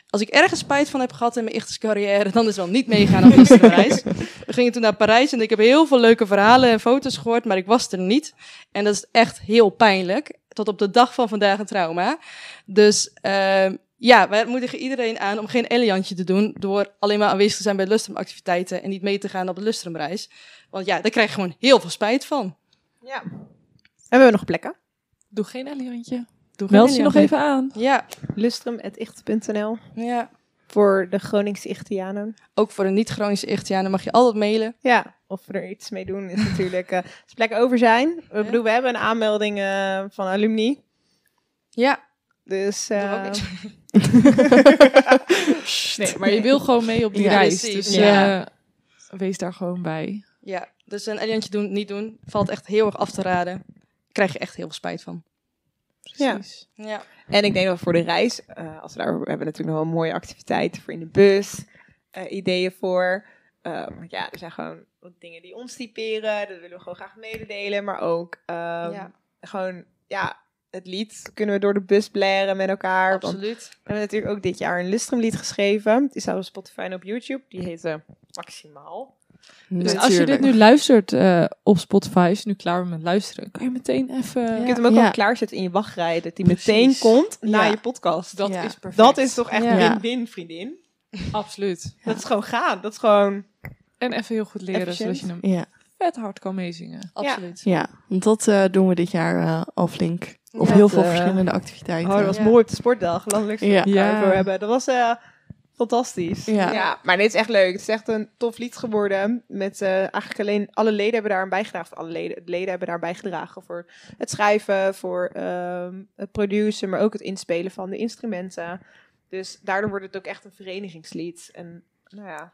Speaker 6: als ik ergens spijt van heb gehad in mijn echte carrière... dan is wel niet meegaan op de Lustrumreis. We gingen toen naar Parijs en ik heb heel veel leuke verhalen en foto's gehoord, maar ik was er niet. En dat is echt heel pijnlijk. Tot op de dag van vandaag een trauma. Dus ehm, ja, wij moedigen iedereen aan om geen Eliantje te doen. Door alleen maar aanwezig te zijn bij Lustrumactiviteiten en niet mee te gaan op de Lustrumreis. Want ja, daar krijg je gewoon heel veel spijt van.
Speaker 5: Ja. Hebben we nog plekken?
Speaker 4: Doe geen Eliantje.
Speaker 6: Doe geen
Speaker 4: Meld je nog
Speaker 6: Eliantje.
Speaker 4: even aan.
Speaker 6: Ja,
Speaker 5: Lustrum.icht.nl
Speaker 6: ja.
Speaker 5: voor de Groningse Ichtianen.
Speaker 6: Ook voor een niet-chronische Ichtianen mag je altijd mailen.
Speaker 5: Ja, of we er iets mee doen is natuurlijk... eh, als plekken over zijn. Ik bedoel, we hebben een aanmelding eh, van alumni.
Speaker 6: Ja,
Speaker 5: Dus...
Speaker 6: doe
Speaker 5: eh,
Speaker 6: ook niks.
Speaker 4: Nee, maar je wil gewoon mee op die
Speaker 6: Ja,
Speaker 4: reis.
Speaker 6: precies.
Speaker 4: Dus
Speaker 6: Ja.
Speaker 4: eh, wees daar gewoon bij.
Speaker 6: Ja, dus een Eliantje doen, niet doen, valt echt heel erg af te raden. Krijg je echt heel veel spijt van.
Speaker 4: Precies.
Speaker 6: Ja.
Speaker 5: En ik denk dat voor de reis, eh, als we daar, we hebben natuurlijk nog wel mooie activiteiten voor in de bus, eh, ideeën voor. Eh, want ja, er zijn gewoon wat dingen die ons typeren, dat willen we gewoon graag mededelen, maar ook ehm,
Speaker 6: ja,
Speaker 5: gewoon, ja, het lied kunnen we door de bus blaren met elkaar. Want
Speaker 6: absoluut.
Speaker 5: we hebben natuurlijk ook dit jaar een Lustrumlied geschreven. Die staat op Spotify en op YouTube, die heette Maximaal.
Speaker 4: Dus als je dit nu luistert eh, op Spotify, als je nu klaar bent met luisteren, kan je meteen even...
Speaker 5: Je kunt hem ook
Speaker 3: Ja.
Speaker 5: al klaarzetten in je wachtrij, dat die
Speaker 3: Precies.
Speaker 5: meteen komt na
Speaker 3: Ja.
Speaker 5: je podcast.
Speaker 4: Dat
Speaker 3: Ja.
Speaker 4: is perfect.
Speaker 5: Dat is toch echt
Speaker 3: Ja.
Speaker 5: win-win, vriendin?
Speaker 4: Absoluut.
Speaker 5: Dat is gewoon gaan. Dat is gewoon...
Speaker 4: En even heel goed leren,
Speaker 5: Efficiënt.
Speaker 4: zodat je hem
Speaker 3: Ja,
Speaker 4: vet hard kan meezingen.
Speaker 6: Absoluut.
Speaker 3: ja. Want dat eh, doen we dit jaar eh, al flink. Op
Speaker 6: Ja.
Speaker 3: heel veel
Speaker 5: eh,
Speaker 3: verschillende activiteiten.
Speaker 5: Oh, dat was
Speaker 6: Ja.
Speaker 5: mooi op de sportdag. Landelijk
Speaker 3: Ja.
Speaker 5: ja.
Speaker 4: Ja.
Speaker 5: over hebben. Dat was eh, fantastisch.
Speaker 3: Ja.
Speaker 5: maar dit is echt leuk. Het is echt een tof lied geworden. Met eh, eigenlijk alleen alle leden hebben daar aan bijgedragen. Of Alle leden, leden hebben daar aan bijgedragen voor het schrijven, voor ehm, het produceren, maar ook het inspelen van de instrumenten. Dus daardoor wordt het ook echt een verenigingslied. En nou ja,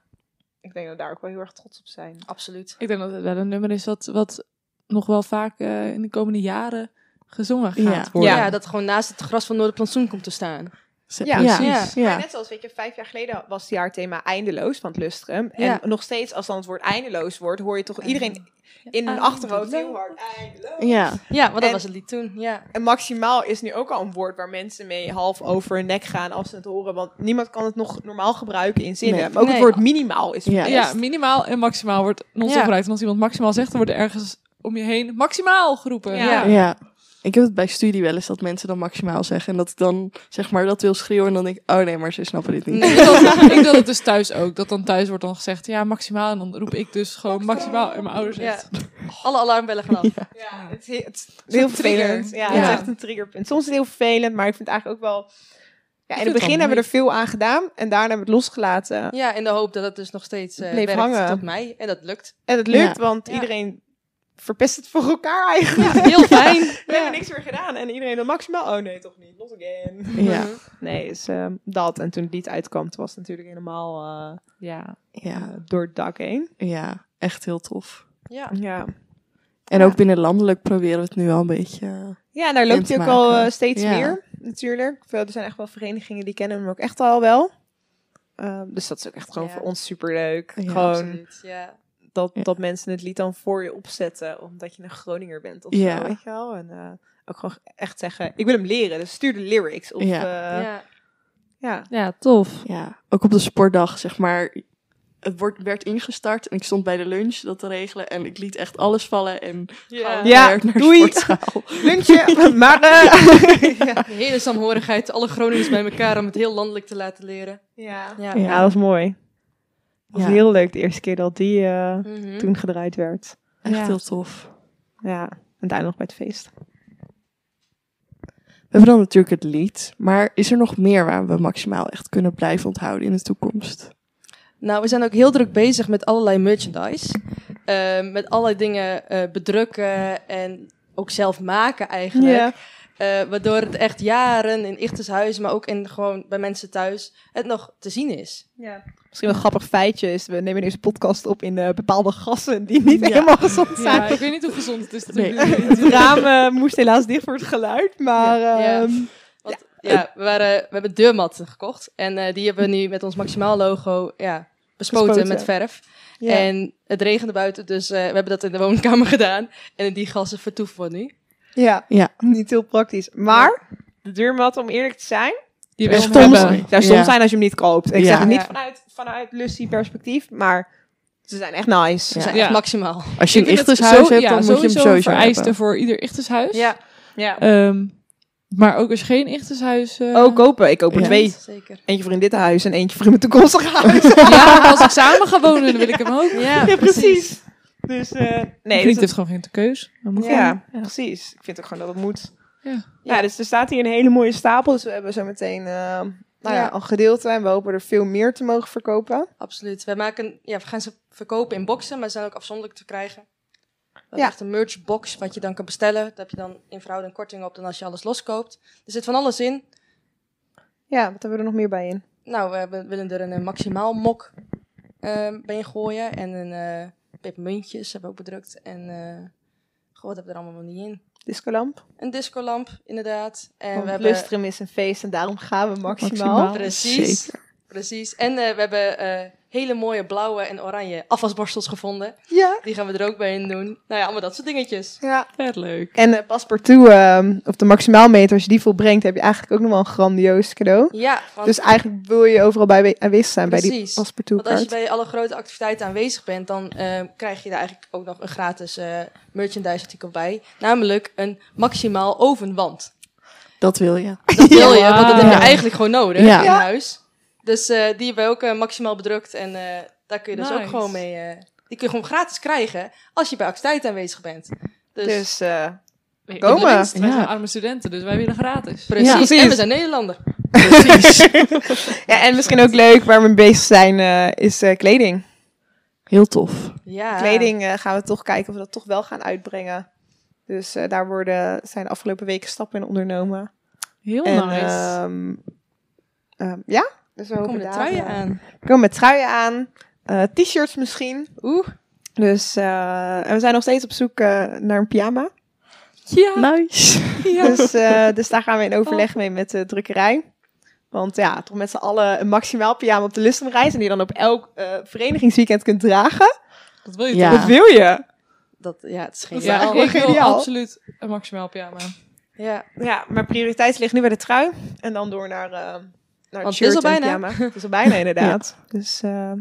Speaker 5: ik denk dat we daar ook wel heel erg trots op zijn.
Speaker 6: Absoluut.
Speaker 4: Ik denk dat het wel een nummer is wat, wat nog wel vaak eh, in de komende jaren gezongen gaat
Speaker 3: Ja.
Speaker 4: worden.
Speaker 6: Ja. dat gewoon naast het gras van Noorderplantsoen komt te staan.
Speaker 3: Ze-
Speaker 5: Ja,
Speaker 3: Ja.
Speaker 6: precies.
Speaker 5: Maar net zoals, weet je, vijf jaar geleden was het jaarthema eindeloos van het Lustrum.
Speaker 6: Ja.
Speaker 5: En nog steeds, als dan het woord eindeloos wordt, hoor je toch iedereen in hun achterhoofd heel hard eindeloos.
Speaker 3: Ja.
Speaker 6: Ja, want dat
Speaker 5: En-
Speaker 6: was het lied toen. Ja.
Speaker 5: En maximaal is nu ook al een woord waar mensen mee half over hun nek gaan als ze het horen. Want niemand kan het nog normaal gebruiken in zinnen.
Speaker 3: Nee.
Speaker 5: Maar ook
Speaker 6: Nee.
Speaker 5: het woord minimaal is
Speaker 3: Ja.
Speaker 5: verpest.
Speaker 4: Ja, minimaal en maximaal wordt non
Speaker 6: Ja.
Speaker 4: gebruikt. En als iemand maximaal zegt, dan wordt er ergens om je heen maximaal geroepen.
Speaker 5: Ja.
Speaker 3: Ja. Ik heb het bij studie wel eens dat mensen dan maximaal zeggen. En dat ik dan zeg maar dat wil schreeuwen. En dan denk ik, oh nee, maar ze snappen dit niet.
Speaker 6: Nee.
Speaker 4: Ik doe dat- ik doe dat dus thuis ook. Dat dan thuis wordt dan gezegd, ja, maximaal. En dan roep ik dus gewoon maximaal. En mijn ouders
Speaker 6: Ja.
Speaker 4: zegt,
Speaker 6: Alle alarmbellen gaan af.
Speaker 5: Ja, het is, het is heel vervelend.
Speaker 4: trigger.
Speaker 5: Ja, het
Speaker 4: Ja.
Speaker 5: is echt een triggerpunt. Soms is het heel vervelend, maar ik vind het eigenlijk ook wel... Ja, in
Speaker 4: vind
Speaker 5: het
Speaker 4: het wel
Speaker 5: begin hebben we er veel aan gedaan en daarna hebben we het losgelaten.
Speaker 6: Ja, in de hoop dat het dus nog steeds eh
Speaker 5: Bleef
Speaker 6: werkt
Speaker 5: hangen.
Speaker 6: tot mij. En dat lukt.
Speaker 5: En het lukt, want
Speaker 6: Ja.
Speaker 5: iedereen verpest het voor elkaar eigenlijk.
Speaker 6: Heel fijn.
Speaker 5: We hebben niks meer gedaan. En iedereen dan maximaal, oh nee, toch niet, not again.
Speaker 3: Ja,
Speaker 5: Nee, dus ehm, dat. En toen het lied uitkwam, toen was het natuurlijk helemaal eh,
Speaker 4: ja.
Speaker 3: ja,
Speaker 5: door het dak heen.
Speaker 3: ja. Echt heel tof.
Speaker 6: Ja.
Speaker 5: Ja,
Speaker 3: En
Speaker 5: Ja.
Speaker 3: ook binnenlandelijk proberen we het nu al een beetje.
Speaker 5: ja daar
Speaker 3: In
Speaker 5: loopt
Speaker 3: te
Speaker 5: hij ook al
Speaker 3: maken.
Speaker 5: eh, steeds
Speaker 3: Ja.
Speaker 5: meer, natuurlijk. Veel- Er zijn echt wel verenigingen die kennen hem ook echt al wel. Ehm, dus dat is ook echt gewoon
Speaker 6: Ja.
Speaker 5: voor ons superleuk.
Speaker 3: Ja,
Speaker 5: gewoon
Speaker 6: Absoluut. Ja.
Speaker 5: dat,
Speaker 3: Ja.
Speaker 5: dat mensen het lied dan voor je opzetten, omdat je een Groninger bent of
Speaker 3: Ja.
Speaker 5: zo, weet je wel. En eh, ook gewoon echt zeggen, ik wil hem leren, dus stuur de lyrics. Of,
Speaker 3: Ja.
Speaker 5: ja.
Speaker 6: ja.
Speaker 5: ja.
Speaker 4: Ja, tof.
Speaker 3: Ja, ook op de sportdag, zeg maar. Het wordt, werd ingestart en ik stond bij de lunch dat te regelen. En ik liet echt alles vallen en
Speaker 6: Ja.
Speaker 5: Ja,
Speaker 3: werd naar de
Speaker 5: doei.
Speaker 3: sportzaal.
Speaker 5: Lunchje, maar... eh, ja.
Speaker 6: De hele saamhorigheid, alle Groningers bij elkaar om het heel landelijk te laten leren.
Speaker 5: Ja.
Speaker 6: Ja.
Speaker 3: Ja.
Speaker 5: dat was mooi. Dat was
Speaker 3: Ja.
Speaker 5: heel leuk de eerste keer dat die eh,
Speaker 6: Mhm.
Speaker 5: toen gedraaid werd.
Speaker 3: Echt
Speaker 4: Ja.
Speaker 3: heel tof.
Speaker 5: Ja, en daarna nog bij het feest.
Speaker 3: We hebben dan natuurlijk het lied. Maar is er nog meer waar we maximaal echt kunnen blijven onthouden in de toekomst?
Speaker 6: Nou, we zijn ook heel druk bezig met allerlei merchandise. Ehm, met allerlei dingen eh, bedrukken en ook zelf maken eigenlijk. Eh, waardoor het echt jaren in ichtershuizen, maar ook in, gewoon bij mensen thuis, het nog te zien is.
Speaker 5: ja. Misschien wel een grappig feitje is, we nemen deze podcast op in eh, bepaalde gassen die niet
Speaker 3: Ja.
Speaker 5: helemaal gezond zijn.
Speaker 4: Ja, ik weet niet hoe gezond het is. dat
Speaker 3: Nee.
Speaker 4: ik dit doe.
Speaker 5: Het raam eh, moest helaas dicht voor het geluid, maar...
Speaker 6: Ja.
Speaker 5: ehm,
Speaker 6: Want ja, we, waren, we hebben deurmatten gekocht. En eh, die hebben we nu met ons maximaal logo ja, bespoten,
Speaker 5: Bespoten.
Speaker 6: met verf.
Speaker 5: ja.
Speaker 6: En het regende buiten, dus eh, we hebben dat in de woonkamer gedaan. En in die gassen vertoeven we nu.
Speaker 5: Ja.
Speaker 3: Ja.
Speaker 5: niet heel praktisch. Maar de deurmat, om eerlijk te zijn,
Speaker 4: Die
Speaker 3: Echt
Speaker 4: wil hem
Speaker 3: stom.
Speaker 4: hebben.
Speaker 5: zou soms
Speaker 3: Ja.
Speaker 5: zijn als je hem niet koopt. Ik
Speaker 3: Ja.
Speaker 5: zeg het niet
Speaker 6: Ja.
Speaker 5: vanuit, vanuit lusty perspectief, maar ze zijn echt nice.
Speaker 6: We
Speaker 3: Ja.
Speaker 6: zijn
Speaker 4: Ja.
Speaker 6: echt maximaal.
Speaker 3: Als je
Speaker 4: Ik
Speaker 3: een
Speaker 4: vind het
Speaker 3: ichtershuis
Speaker 4: zo-
Speaker 3: hebt,
Speaker 4: ja,
Speaker 3: dan moet je hem
Speaker 4: een
Speaker 3: sowieso
Speaker 4: vereiste
Speaker 3: hebben.
Speaker 4: voor ieder ichtershuis.
Speaker 5: dus-
Speaker 6: Ja,
Speaker 5: Ja.
Speaker 4: Ehm, maar ook als je geen ichtershuis... eh,
Speaker 5: Oh, kopen. Ik koop er
Speaker 3: Ja.
Speaker 5: twee.
Speaker 6: zeker.
Speaker 5: Eentje voor in dit huis en eentje voor in mijn toekomstige huis.
Speaker 4: Ja, maar als ik samen ga wonen, dan wil ik hem ook.
Speaker 6: Ja,
Speaker 5: Dus, eh
Speaker 4: Nee,
Speaker 5: nee, dus
Speaker 4: heeft gewoon geen keus. Dan moet
Speaker 5: dat-
Speaker 4: je-
Speaker 5: ja, precies. Ik vind ook gewoon dat het moet.
Speaker 4: Ja.
Speaker 5: Ja, dus er staat hier een hele mooie stapel. Dus we hebben zo meteen eh, nou ja,
Speaker 6: Ja.
Speaker 5: een gedeelte. En we hopen er veel meer te mogen verkopen.
Speaker 6: Absoluut. Wij maken, ja, we gaan ze verkopen in boxen, maar ze zijn ook afzonderlijk te krijgen. We hebben
Speaker 5: Ja.
Speaker 6: echt een merchbox wat je dan kan bestellen. Daar heb je dan in verhouding korting op dan als je alles loskoopt. Er zit van alles in.
Speaker 5: Ja, wat hebben we er nog meer bij in?
Speaker 6: Nou, we hebben- willen er een eh, maximaal mok eh, bij gooien. En een eh peppermuntjes hebben we ook bedrukt. En eh goh, wat hebben we er allemaal nog niet in?
Speaker 5: Discolamp.
Speaker 6: Een discolamp, inderdaad. En
Speaker 5: Want
Speaker 6: we hebben...
Speaker 5: Lustrum is een feest en daarom gaan we maximaal.
Speaker 3: Maximaal.
Speaker 6: Precies.
Speaker 3: Zeker.
Speaker 6: Precies. En eh, we hebben eh, hele mooie blauwe en oranje afwasborstels gevonden.
Speaker 5: Ja.
Speaker 6: Die gaan we er ook bij in doen. Nou ja, allemaal dat soort dingetjes.
Speaker 5: ja.
Speaker 4: Vet leuk.
Speaker 5: En eh, paspartout, ehm, of de maximaalmeter, als je die volbrengt, heb je eigenlijk ook nog wel een grandioos cadeau.
Speaker 6: Ja, want,
Speaker 5: Dus eigenlijk wil je overal bij we- aanwezig zijn bij die
Speaker 6: Precies.
Speaker 5: paspartout
Speaker 6: want als je
Speaker 5: kaart.
Speaker 6: bij alle grote activiteiten aanwezig bent, dan eh, krijg je daar eigenlijk ook nog een gratis eh, merchandise artikel bij. Namelijk een maximaal ovenwand.
Speaker 3: Dat wil je.
Speaker 6: Dat wil je, want dat heb je
Speaker 4: Wauw.
Speaker 6: eigenlijk gewoon nodig
Speaker 3: Ja.
Speaker 6: in
Speaker 5: Ja.
Speaker 6: huis. Dus eh, die hebben we ook eh, maximaal bedrukt. En eh, daar kun je dus ook
Speaker 4: Nice.
Speaker 6: gewoon mee... eh, die kun je gewoon gratis krijgen als je bij activiteiten aanwezig bent. Dus,
Speaker 5: Dus eh,
Speaker 4: Nee,
Speaker 5: Komen.
Speaker 4: in de winst, Wij
Speaker 3: Ja.
Speaker 4: zijn arme studenten, dus wij willen gratis.
Speaker 6: precies.
Speaker 5: Ja, precies.
Speaker 6: En we zijn Nederlander.
Speaker 5: ja, en misschien ook leuk waar we mee bezig zijn, eh, is eh, kleding.
Speaker 3: Heel tof.
Speaker 6: Ja.
Speaker 5: Kleding eh, gaan we toch kijken of we dat toch wel gaan uitbrengen. Dus eh, daar worden, zijn de afgelopen weken stappen in ondernomen.
Speaker 4: Heel
Speaker 6: Oh,
Speaker 5: en,
Speaker 4: nice.
Speaker 5: ehm, ehm, ja, dus we hopen
Speaker 6: Komen de
Speaker 5: daar,
Speaker 6: truien
Speaker 5: eh,
Speaker 6: aan.
Speaker 5: Komen met truien aan, eh, t-shirts misschien.
Speaker 6: Oeh.
Speaker 5: Dus eh, en we zijn nog steeds op zoek eh, naar een pyjama.
Speaker 4: Ja.
Speaker 3: Nice.
Speaker 5: Dus, eh, dus daar gaan we in overleg mee met de drukkerij. Want ja, toch met z'n allen een maximaal pyjama op de Lustrumreis. En die je dan op elk eh, verenigingsweekend kunt dragen.
Speaker 4: Dat wil je
Speaker 3: Ja.
Speaker 4: toch?
Speaker 5: Dat wil je.
Speaker 6: Dat, ja, het is
Speaker 4: Dat
Speaker 6: geen
Speaker 4: is
Speaker 5: Ja.
Speaker 4: eigenlijk ik wil
Speaker 5: Geniaal.
Speaker 4: absoluut een maximaal pyjama.
Speaker 6: Ja.
Speaker 5: Ja, maar prioriteit ligt nu bij de trui. En dan door naar, eh naar het
Speaker 6: het
Speaker 5: shirt
Speaker 6: is al
Speaker 5: en
Speaker 6: bijna.
Speaker 5: pyjama. Het is al bijna, inderdaad. Dus eh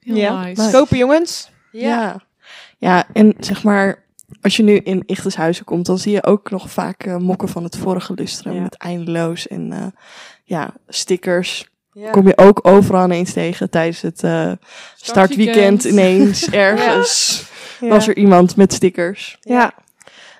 Speaker 4: Heel
Speaker 5: ja,
Speaker 4: nice.
Speaker 5: kopen jongens.
Speaker 6: Ja.
Speaker 3: Ja. ja, en zeg maar, als je nu in Ichtershuizen komt, dan zie je ook nog vaak eh, mokken van het vorige lustrum.
Speaker 5: Ja.
Speaker 3: Met eindeloos en eh, ja, stickers.
Speaker 6: Ja.
Speaker 3: Kom je ook overal ineens tegen tijdens het eh, startweekend ineens ergens.
Speaker 5: Ja.
Speaker 3: Was er iemand met stickers.
Speaker 5: Ja.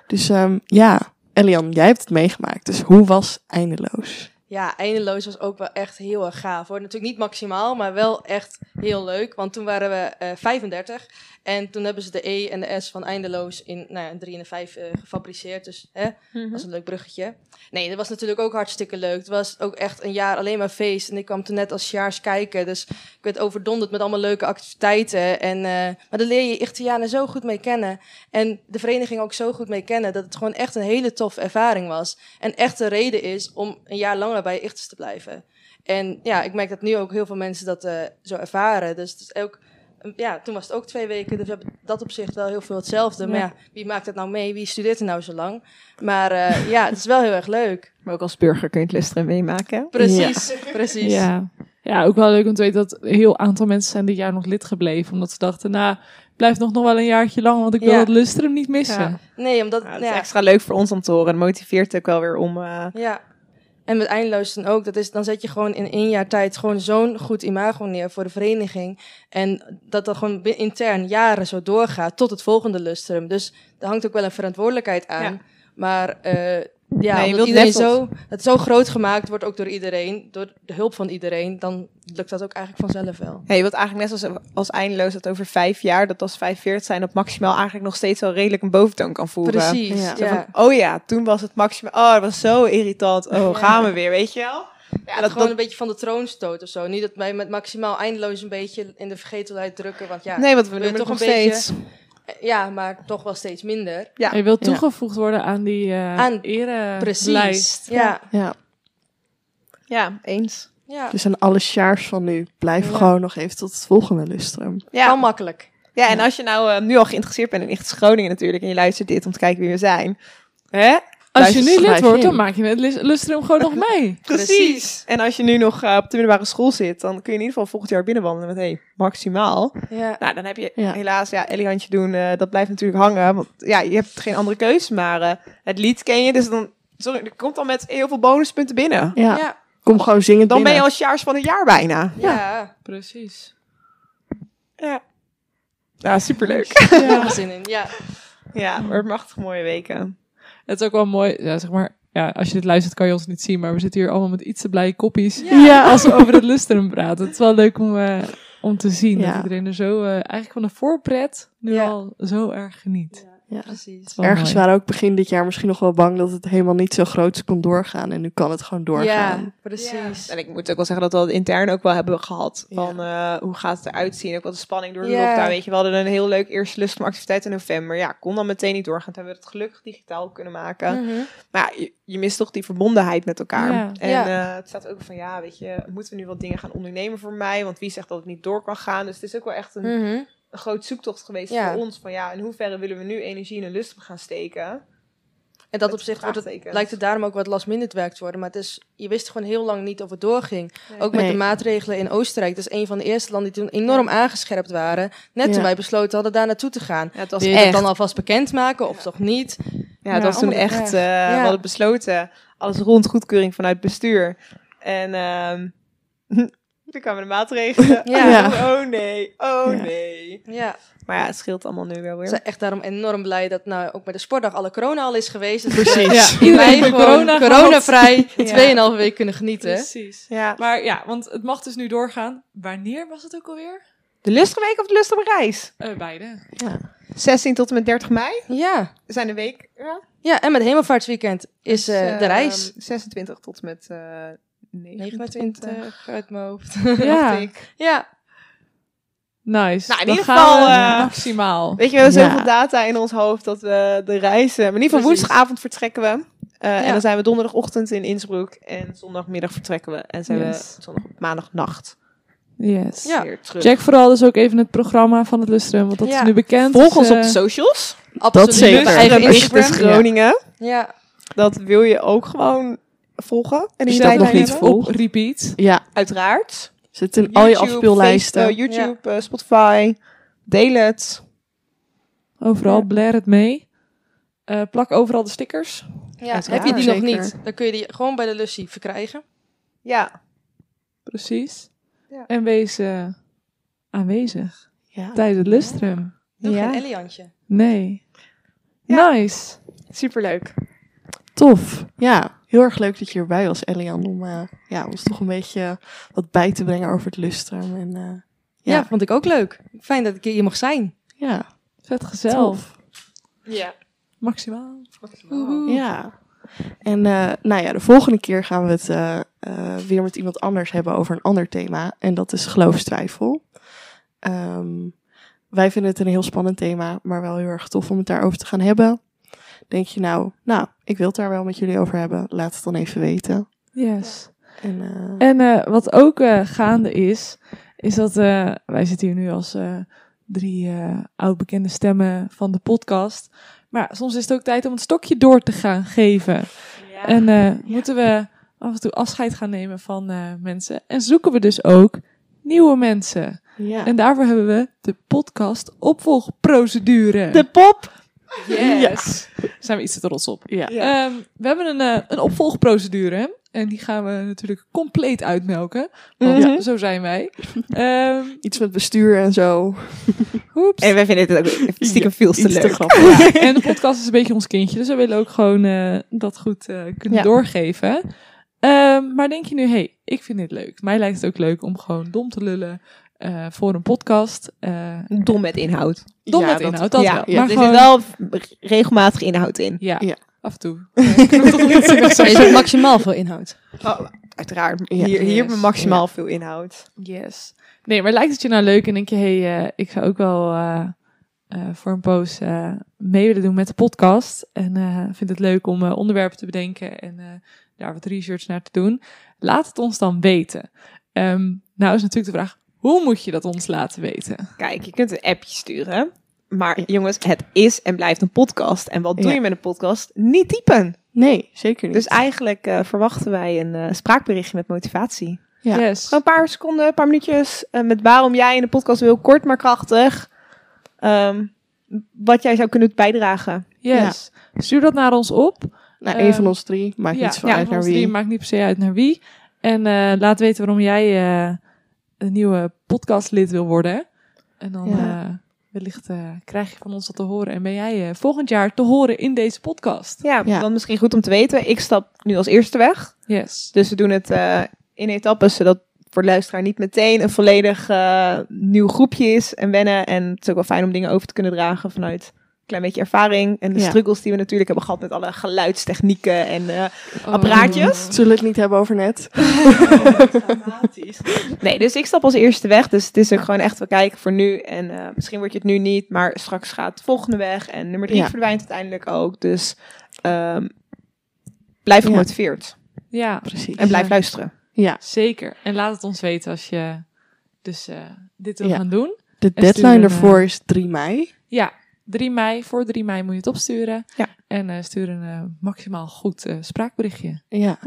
Speaker 3: Dus ehm, ja, Elian, jij hebt het meegemaakt. Dus hoe was eindeloos?
Speaker 6: Ja, eindeloos was ook wel echt heel erg gaaf hoor. Natuurlijk niet maximaal, maar wel echt heel leuk. Want toen waren we eh, 35 en toen hebben ze de E en de S van eindeloos in nou ja, een 3 en een 5 eh, gefabriceerd. Dus hè, was een leuk bruggetje. Nee, dat was natuurlijk ook hartstikke leuk. Het was ook echt een jaar alleen maar feest. En ik kwam toen net als jaars kijken. Dus ik werd overdonderd met allemaal leuke activiteiten. En, eh, maar daar leer je Ichtianen zo goed mee kennen. En de vereniging ook zo goed mee kennen. Dat het gewoon echt een hele toffe ervaring was. En echt de reden is om een jaar langer bij Ichters te blijven. En ja, ik merk dat nu ook heel veel mensen dat eh, zo ervaren. Dus het is ook... Ja, toen was het ook twee weken, dus we hebben dat op zich wel heel veel hetzelfde. Maar
Speaker 4: Ja.
Speaker 6: ja, wie maakt dat nou mee? Wie studeert er nou zo lang? Maar eh, ja, het is wel heel erg leuk.
Speaker 5: Maar ook als burger kun je het Lustrum meemaken.
Speaker 6: Precies, precies.
Speaker 4: Ja. ja, ook wel leuk om te weten dat een heel aantal mensen zijn dit jaar nog lid gebleven. Omdat ze dachten, nou, blijf nog, nog wel een jaartje lang, want ik wil
Speaker 6: Ja.
Speaker 4: dat lustrum niet missen.
Speaker 6: Nee, omdat...
Speaker 5: Ja,
Speaker 6: Ja,
Speaker 5: dat is extra leuk voor ons om te horen. En motiveert ook wel weer om... eh,
Speaker 6: ja. En met eindeloos dan ook. Dat is, dan zet je gewoon in één jaar tijd gewoon zo'n goed imago neer voor de vereniging. En dat dat gewoon bi- intern jaren zo doorgaat tot het volgende lustrum. Dus daar hangt ook wel een verantwoordelijkheid aan.
Speaker 5: Ja.
Speaker 6: Maar eh ja,
Speaker 5: wilt
Speaker 6: omdat
Speaker 5: net
Speaker 6: iedereen
Speaker 5: als-
Speaker 6: zo, het zo groot gemaakt wordt ook door iedereen, door de hulp van iedereen, dan lukt dat ook eigenlijk vanzelf wel.
Speaker 5: Ja, je wilt eigenlijk net als, als eindeloos dat over vijf jaar, dat als vijf veertig zijn, dat maximaal eigenlijk nog steeds wel redelijk een boventoon kan voeren.
Speaker 6: Precies,
Speaker 3: Ja.
Speaker 6: ja.
Speaker 5: Zo van, oh ja, toen was het maximaal. Oh, dat was zo irritant. Oh,
Speaker 6: Ja.
Speaker 5: gaan we weer, weet je wel?
Speaker 6: Ja, dat, gewoon een beetje van de troon stoot of zo. Niet dat wij met maximaal eindeloos een beetje in de vergetelheid drukken. Want ja,
Speaker 5: Nee, want we
Speaker 6: wil je
Speaker 5: doen het
Speaker 6: toch
Speaker 5: nog
Speaker 6: een beetje-
Speaker 5: steeds.
Speaker 6: eh, ja maar toch wel steeds minder.
Speaker 5: Ja.
Speaker 4: En je wilt
Speaker 3: Ja.
Speaker 4: toegevoegd worden aan die eh
Speaker 6: Aan-
Speaker 4: erelijst.
Speaker 6: Precies. Ja.
Speaker 3: Ja,
Speaker 5: Ja, eens.
Speaker 6: Ja.
Speaker 3: dus aan alle sjaars van nu, blijf
Speaker 6: Ja.
Speaker 3: gewoon nog even tot het volgende lustrum.
Speaker 5: Ja,
Speaker 6: Wel makkelijk.
Speaker 5: Ja, en als je nou eh, nu al geïnteresseerd bent in Ichts Groningen natuurlijk... en je luistert dit om te kijken wie we zijn. Hè?
Speaker 4: Als je nu
Speaker 3: Luister,
Speaker 4: lid
Speaker 3: schrijf
Speaker 4: wordt,
Speaker 3: in.
Speaker 4: dan maak je het lus- lustrum gewoon nog mee.
Speaker 6: Precies.
Speaker 5: En als je nu nog eh, op de middelbare school zit... dan kun je in ieder geval volgend jaar binnenwandelen met... hey, maximaal.
Speaker 6: Ja.
Speaker 5: Nou, dan heb je
Speaker 3: Ja.
Speaker 5: helaas... ja, Eliantje doen, eh, dat blijft natuurlijk hangen. Want ja, je hebt geen andere keus. Maar eh, het lied ken je, dus dan... Sorry, er komt dan met heel veel bonuspunten binnen.
Speaker 3: Ja,
Speaker 6: Ja.
Speaker 3: kom gewoon zingen
Speaker 5: Dan ben je al sjaars van het jaar bijna.
Speaker 6: Ja.
Speaker 4: Precies.
Speaker 5: Ja. Ja, superleuk.
Speaker 6: Ja. Zin in. Ja.
Speaker 5: Ja, maar machtig mooie weken.
Speaker 4: Het is ook wel mooi, ja, zeg maar, ja, als je dit luistert kan je ons niet zien, maar we zitten hier allemaal met iets te blije koppies.
Speaker 3: Ja,
Speaker 4: Als we over het lustrum praten. Het is wel leuk om, eh, om te zien
Speaker 3: Ja.
Speaker 4: dat iedereen er zo, eh, eigenlijk van de voorpret, nu
Speaker 6: Ja.
Speaker 4: al zo erg geniet.
Speaker 3: Ja.
Speaker 6: Precies.
Speaker 4: Wel
Speaker 3: Ergens
Speaker 4: mooi.
Speaker 3: waren we ook begin dit jaar misschien nog wel bang dat het helemaal niet zo groot kon doorgaan. En nu kan het gewoon doorgaan.
Speaker 6: Ja, precies.
Speaker 5: En ik moet ook wel zeggen dat we dat intern ook wel hebben gehad. Van eh, hoe gaat het eruit zien? Ook wat de spanning door de
Speaker 6: Ja.
Speaker 5: lockdown. Weet je, we hadden een heel leuk eerste lustumactiviteit in november. Ja, kon dan meteen niet doorgaan. Toen hebben we het gelukkig digitaal kunnen maken.
Speaker 6: Mhm.
Speaker 5: Maar ja, je, je mist toch die verbondenheid met elkaar.
Speaker 4: Ja.
Speaker 5: En
Speaker 6: Ja.
Speaker 5: eh, het staat ook van, ja, weet je, moeten we nu wat dingen gaan ondernemen voor mij? Want wie zegt dat het niet door kan gaan? Dus het is ook wel echt een,
Speaker 6: Mhm.
Speaker 5: een groot zoektocht geweest
Speaker 6: Ja.
Speaker 5: voor ons. Van ja, in hoeverre willen we nu energie en lust op gaan steken?
Speaker 6: En
Speaker 5: Met
Speaker 6: dat opzicht wordt het,
Speaker 5: vraagtekens.
Speaker 6: lijkt het daarom ook wat last minute werk te worden. Maar het is, je wist gewoon heel lang niet of het doorging. Ook met
Speaker 3: Nee.
Speaker 6: de maatregelen in Oostenrijk. Dat is een van de eerste landen die toen enorm aangescherpt waren. Net
Speaker 3: Ja.
Speaker 6: toen wij besloten hadden daar naartoe te gaan.
Speaker 5: Ja, het was
Speaker 6: Wil je dat
Speaker 5: echt.
Speaker 6: dan alvast bekendmaken of toch niet?
Speaker 5: Ja, het
Speaker 4: Ja,
Speaker 5: was toen
Speaker 4: allemaal
Speaker 5: echt.
Speaker 4: weg.
Speaker 5: eh, We hadden besloten. Alles rond goedkeuring vanuit bestuur. En ehm toen kwamen de maatregelen.
Speaker 6: Ja.
Speaker 3: Ja.
Speaker 5: Oh nee, oh
Speaker 3: Ja.
Speaker 5: nee.
Speaker 6: Ja,
Speaker 5: Maar ja, het scheelt allemaal nu wel
Speaker 6: we
Speaker 5: weer.
Speaker 6: zijn echt daarom enorm blij dat nou ook bij de sportdag alle corona al is geweest. Dus
Speaker 3: Precies.
Speaker 4: Ja.
Speaker 6: wij
Speaker 4: Iedereen
Speaker 6: gewoon
Speaker 4: heeft
Speaker 6: corona Dus-
Speaker 4: corona gehad.
Speaker 6: coronavrij
Speaker 5: Ja.
Speaker 6: 2,5 week kunnen genieten.
Speaker 4: Precies.
Speaker 5: ja.
Speaker 4: Maar ja, want het mag dus nu doorgaan. Wanneer was het ook alweer?
Speaker 5: De lustgeweek of de lust op reis?
Speaker 4: Eh, beide.
Speaker 5: 16 tot en met 30 mei
Speaker 6: Ja.
Speaker 5: zijn de week. Ja.
Speaker 6: ja, en met Hemelvaartsweekend is
Speaker 5: Dus,
Speaker 6: eh, de
Speaker 5: ehm,
Speaker 6: reis.
Speaker 5: 26 tot en met eh 29.
Speaker 6: 29 uit mijn hoofd.
Speaker 5: dacht
Speaker 4: Ja,
Speaker 5: ik.
Speaker 6: ja.
Speaker 4: nice.
Speaker 5: Nou, in
Speaker 4: Dan
Speaker 5: ieder
Speaker 4: gaan
Speaker 5: geval,
Speaker 4: we
Speaker 5: eh,
Speaker 4: maximaal.
Speaker 5: Weet je, we hebben
Speaker 3: Ja.
Speaker 5: zoveel data in ons hoofd dat we de reizen. Maar in ieder geval
Speaker 6: Precies.
Speaker 5: woensdagavond vertrekken we. Eh,
Speaker 6: Ja.
Speaker 5: En dan zijn we donderdagochtend in Innsbruck. En zondagmiddag vertrekken we. En zijn
Speaker 4: Yes.
Speaker 5: we zondag, maandagnacht
Speaker 4: Yes.
Speaker 6: Ja.
Speaker 5: weer terug.
Speaker 4: Check vooral dus ook even het programma van het Lustrum, want dat
Speaker 6: Ja.
Speaker 4: is nu bekend.
Speaker 5: Volg ons
Speaker 4: Dus,
Speaker 5: op de
Speaker 4: eh,
Speaker 5: socials.
Speaker 6: Absoluut.
Speaker 3: zeker.
Speaker 6: Mijn eigen
Speaker 5: Instagram is
Speaker 6: Instagram.
Speaker 5: dus Groningen.
Speaker 6: Ja.
Speaker 5: Dat wil je ook gewoon volgen. En
Speaker 3: Is
Speaker 5: die
Speaker 3: dat nog
Speaker 5: tijdlijn
Speaker 3: niet
Speaker 5: hebben.
Speaker 3: vol?
Speaker 4: op repeat.
Speaker 3: Ja,
Speaker 5: Uiteraard.
Speaker 3: zit in al je
Speaker 5: YouTube,
Speaker 3: afspeellijsten.
Speaker 5: Facebook, YouTube, eh, Spotify. Deel het.
Speaker 4: Overal, blair het mee. Eh, plak overal de stickers.
Speaker 6: ja.
Speaker 3: Uiteraard.
Speaker 6: Heb je die nog
Speaker 3: Zeker.
Speaker 6: niet, dan kun je die gewoon bij de Lussie verkrijgen.
Speaker 5: Ja.
Speaker 4: Precies.
Speaker 5: Ja.
Speaker 4: En wees eh, aanwezig
Speaker 3: Ja.
Speaker 4: tijdens het Lustrum.
Speaker 6: Doe
Speaker 5: Ja.
Speaker 6: geen Eliantje.
Speaker 4: Nee.
Speaker 5: Ja.
Speaker 4: Nice.
Speaker 5: Superleuk.
Speaker 3: Tof. Ja, heel erg leuk dat je erbij was, Elian. Om eh, ja, ons toch een beetje wat bij te brengen over het lustrum. En, eh,
Speaker 6: Ja.
Speaker 3: ja,
Speaker 6: vond ik ook leuk. Fijn dat ik hier mag zijn.
Speaker 3: ja,
Speaker 4: Vet gezellig.
Speaker 3: tof.
Speaker 5: Ja.
Speaker 4: Maximaal.
Speaker 3: Ja. En eh, nou ja, de volgende keer gaan we het eh, eh, weer met iemand anders hebben over een ander thema. En dat is geloofstwijfel. Ehm, wij vinden het een heel spannend thema, maar wel heel erg tof om het daarover te gaan hebben. Denk je nou, nou, ik wil het daar wel met jullie over hebben. Laat het dan even weten.
Speaker 4: Yes.
Speaker 3: En, eh,
Speaker 4: En eh, wat ook eh, gaande is, is dat eh, wij zitten hier nu als eh, drie eh oud-bekende stemmen van de podcast. Maar soms is het ook tijd om het stokje door te gaan geven. En eh, moeten we af en toe afscheid gaan nemen van eh, mensen. En zoeken we dus ook nieuwe mensen.
Speaker 3: ja.
Speaker 4: En daarvoor hebben we de podcast opvolgprocedure.
Speaker 3: de pop!
Speaker 4: yes. Daar zijn we iets te trots op.
Speaker 3: Ja.
Speaker 4: Ehm, we hebben een, eh, een opvolgprocedure. En die gaan we natuurlijk compleet uitmelken. Want
Speaker 5: Mhm.
Speaker 4: zo zijn wij. Ehm
Speaker 3: Iets met bestuur en zo.
Speaker 4: hoeps.
Speaker 5: En wij vinden het ook stiekem veel te
Speaker 3: Iets te
Speaker 5: leuk.
Speaker 3: grappig.
Speaker 4: En de podcast is een beetje ons kindje. Dus we willen ook gewoon eh, dat goed eh, kunnen
Speaker 3: Ja.
Speaker 4: doorgeven. Ehm, maar denk je nu, hey, ik vind dit leuk. Mij lijkt het ook leuk om gewoon dom te lullen eh, voor een podcast. Eh
Speaker 5: Dom met inhoud.
Speaker 4: dom
Speaker 3: Ja,
Speaker 4: met
Speaker 3: dat-
Speaker 4: inhoud, dat
Speaker 5: ja,
Speaker 4: wel.
Speaker 3: ja.
Speaker 4: maar
Speaker 5: er
Speaker 4: gewoon,
Speaker 5: zit wel v- regelmatig inhoud in.
Speaker 4: Ja,
Speaker 3: Ja.
Speaker 4: af en toe.
Speaker 6: Is het maximaal veel inhoud?
Speaker 5: uiteraard.
Speaker 3: Ja.
Speaker 5: hier hier hebben
Speaker 6: Yes.
Speaker 5: we maximaal veel inhoud.
Speaker 4: Yes. Nee, maar lijkt het je nou leuk en denk je, hé, hey, eh, ik zou ook wel eh, eh, voor een poos eh, mee willen doen met de podcast. En eh vind het leuk om eh, onderwerpen te bedenken en eh, daar wat research naar te doen. Laat het ons dan weten. Ehm, nou is natuurlijk de vraag, hoe moet je dat ons laten weten?
Speaker 5: Kijk, je kunt een appje sturen. Maar jongens, het is en blijft een podcast. En wat doe
Speaker 3: Ja.
Speaker 5: je met een podcast? Niet typen.
Speaker 3: Nee, zeker niet.
Speaker 5: Dus eigenlijk eh, verwachten wij een eh, spraakberichtje met motivatie.
Speaker 3: Ja.
Speaker 4: Yes.
Speaker 5: Gewoon een paar seconden, een paar minuutjes. eh, met waarom jij in de podcast wil, kort maar krachtig. Ehm, wat jij zou kunnen bijdragen.
Speaker 4: yes. Stuur dat naar ons op.
Speaker 3: nou,
Speaker 4: eh,
Speaker 3: één van ons drie. Maakt niet zo
Speaker 4: ja,
Speaker 3: uit
Speaker 4: van
Speaker 3: naar
Speaker 4: ons
Speaker 3: wie.
Speaker 4: drie maakt niet per se uit naar wie. En eh, laat weten waarom jij eh, een nieuwe podcastlid wil worden. En dan
Speaker 3: Ja.
Speaker 4: eh, wellicht eh, krijg je van ons dat te horen. En ben jij eh, volgend jaar te horen in deze podcast.
Speaker 5: Ja,
Speaker 3: Ja.
Speaker 5: dan misschien goed om te weten. Ik stap nu als eerste weg.
Speaker 4: Yes.
Speaker 5: Dus we doen het eh, in etappes, zodat voor de luisteraar niet meteen een volledig eh, nieuw groepje is en wennen. En het is ook wel fijn om dingen over te kunnen dragen vanuit klein beetje ervaring en de
Speaker 3: Ja.
Speaker 5: struggles die we natuurlijk hebben gehad met alle geluidstechnieken en eh,
Speaker 4: Oh.
Speaker 5: apparaatjes.
Speaker 3: Zullen we het niet hebben over net?
Speaker 5: Nee, dus ik stap als eerste weg. Dus het is ook gewoon echt wel kijken voor nu. En eh, misschien word je het nu niet, maar straks gaat de volgende weg. En nummer drie
Speaker 3: Ja.
Speaker 5: verdwijnt uiteindelijk ook. Dus ehm, blijf
Speaker 3: Ja.
Speaker 5: gemotiveerd
Speaker 4: Ja,
Speaker 3: Precies.
Speaker 5: en blijf
Speaker 4: Ja.
Speaker 5: luisteren.
Speaker 3: Ja,
Speaker 4: zeker. En laat het ons weten als je dus eh, dit wil
Speaker 3: Ja.
Speaker 4: gaan doen.
Speaker 3: de
Speaker 4: stuur een,
Speaker 3: deadline daarvoor
Speaker 4: eh,
Speaker 3: is 3 mei.
Speaker 4: Ja, 3 mei, voor 3 mei moet je het opsturen.
Speaker 5: Ja.
Speaker 4: En eh, stuur een eh, maximaal goed eh, spraakberichtje.
Speaker 3: Ja.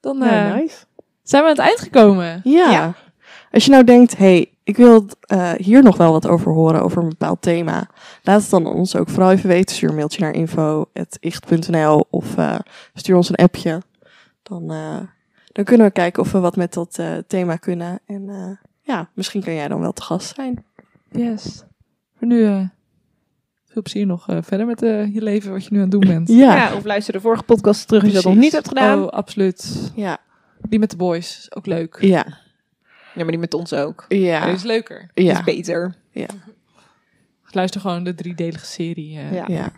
Speaker 4: Dan eh,
Speaker 3: Nou, nice.
Speaker 4: zijn we aan het eind gekomen.
Speaker 3: Ja.
Speaker 5: Ja.
Speaker 3: Als je nou denkt, hé, hey, ik wil eh, hier nog wel wat over horen, over een bepaald thema. Laat het dan aan ons ook vooral even weten. Stuur een mailtje naar info.icht.nl of eh, stuur ons een appje. Dan, eh, dan kunnen we kijken of we wat met dat eh, thema kunnen. En eh, ja, misschien kan jij dan wel te gast zijn.
Speaker 4: Yes. Voor nu eh, veel plezier nog eh, verder met eh, je leven, wat je nu aan het doen bent.
Speaker 5: Ja. of luister de vorige podcast terug als je dat nog
Speaker 3: Precies.
Speaker 5: niet hebt gedaan.
Speaker 4: Oh, absoluut.
Speaker 3: Ja.
Speaker 4: Die met de boys is ook leuk.
Speaker 3: Ja.
Speaker 5: Ja, maar die met ons ook.
Speaker 3: Ja.
Speaker 4: Die is leuker.
Speaker 5: Ja. Is
Speaker 3: Ja.
Speaker 5: beter.
Speaker 4: Luister gewoon de driedelige serie. eh.
Speaker 5: Ja.
Speaker 3: Ja.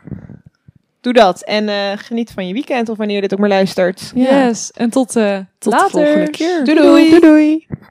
Speaker 5: Doe dat. En eh, geniet van je weekend of wanneer je dit ook maar luistert.
Speaker 3: Ja.
Speaker 4: Yes. En tot, eh
Speaker 3: Tot
Speaker 4: later.
Speaker 3: de volgende keer.
Speaker 5: Doei doei.
Speaker 3: doei. doei.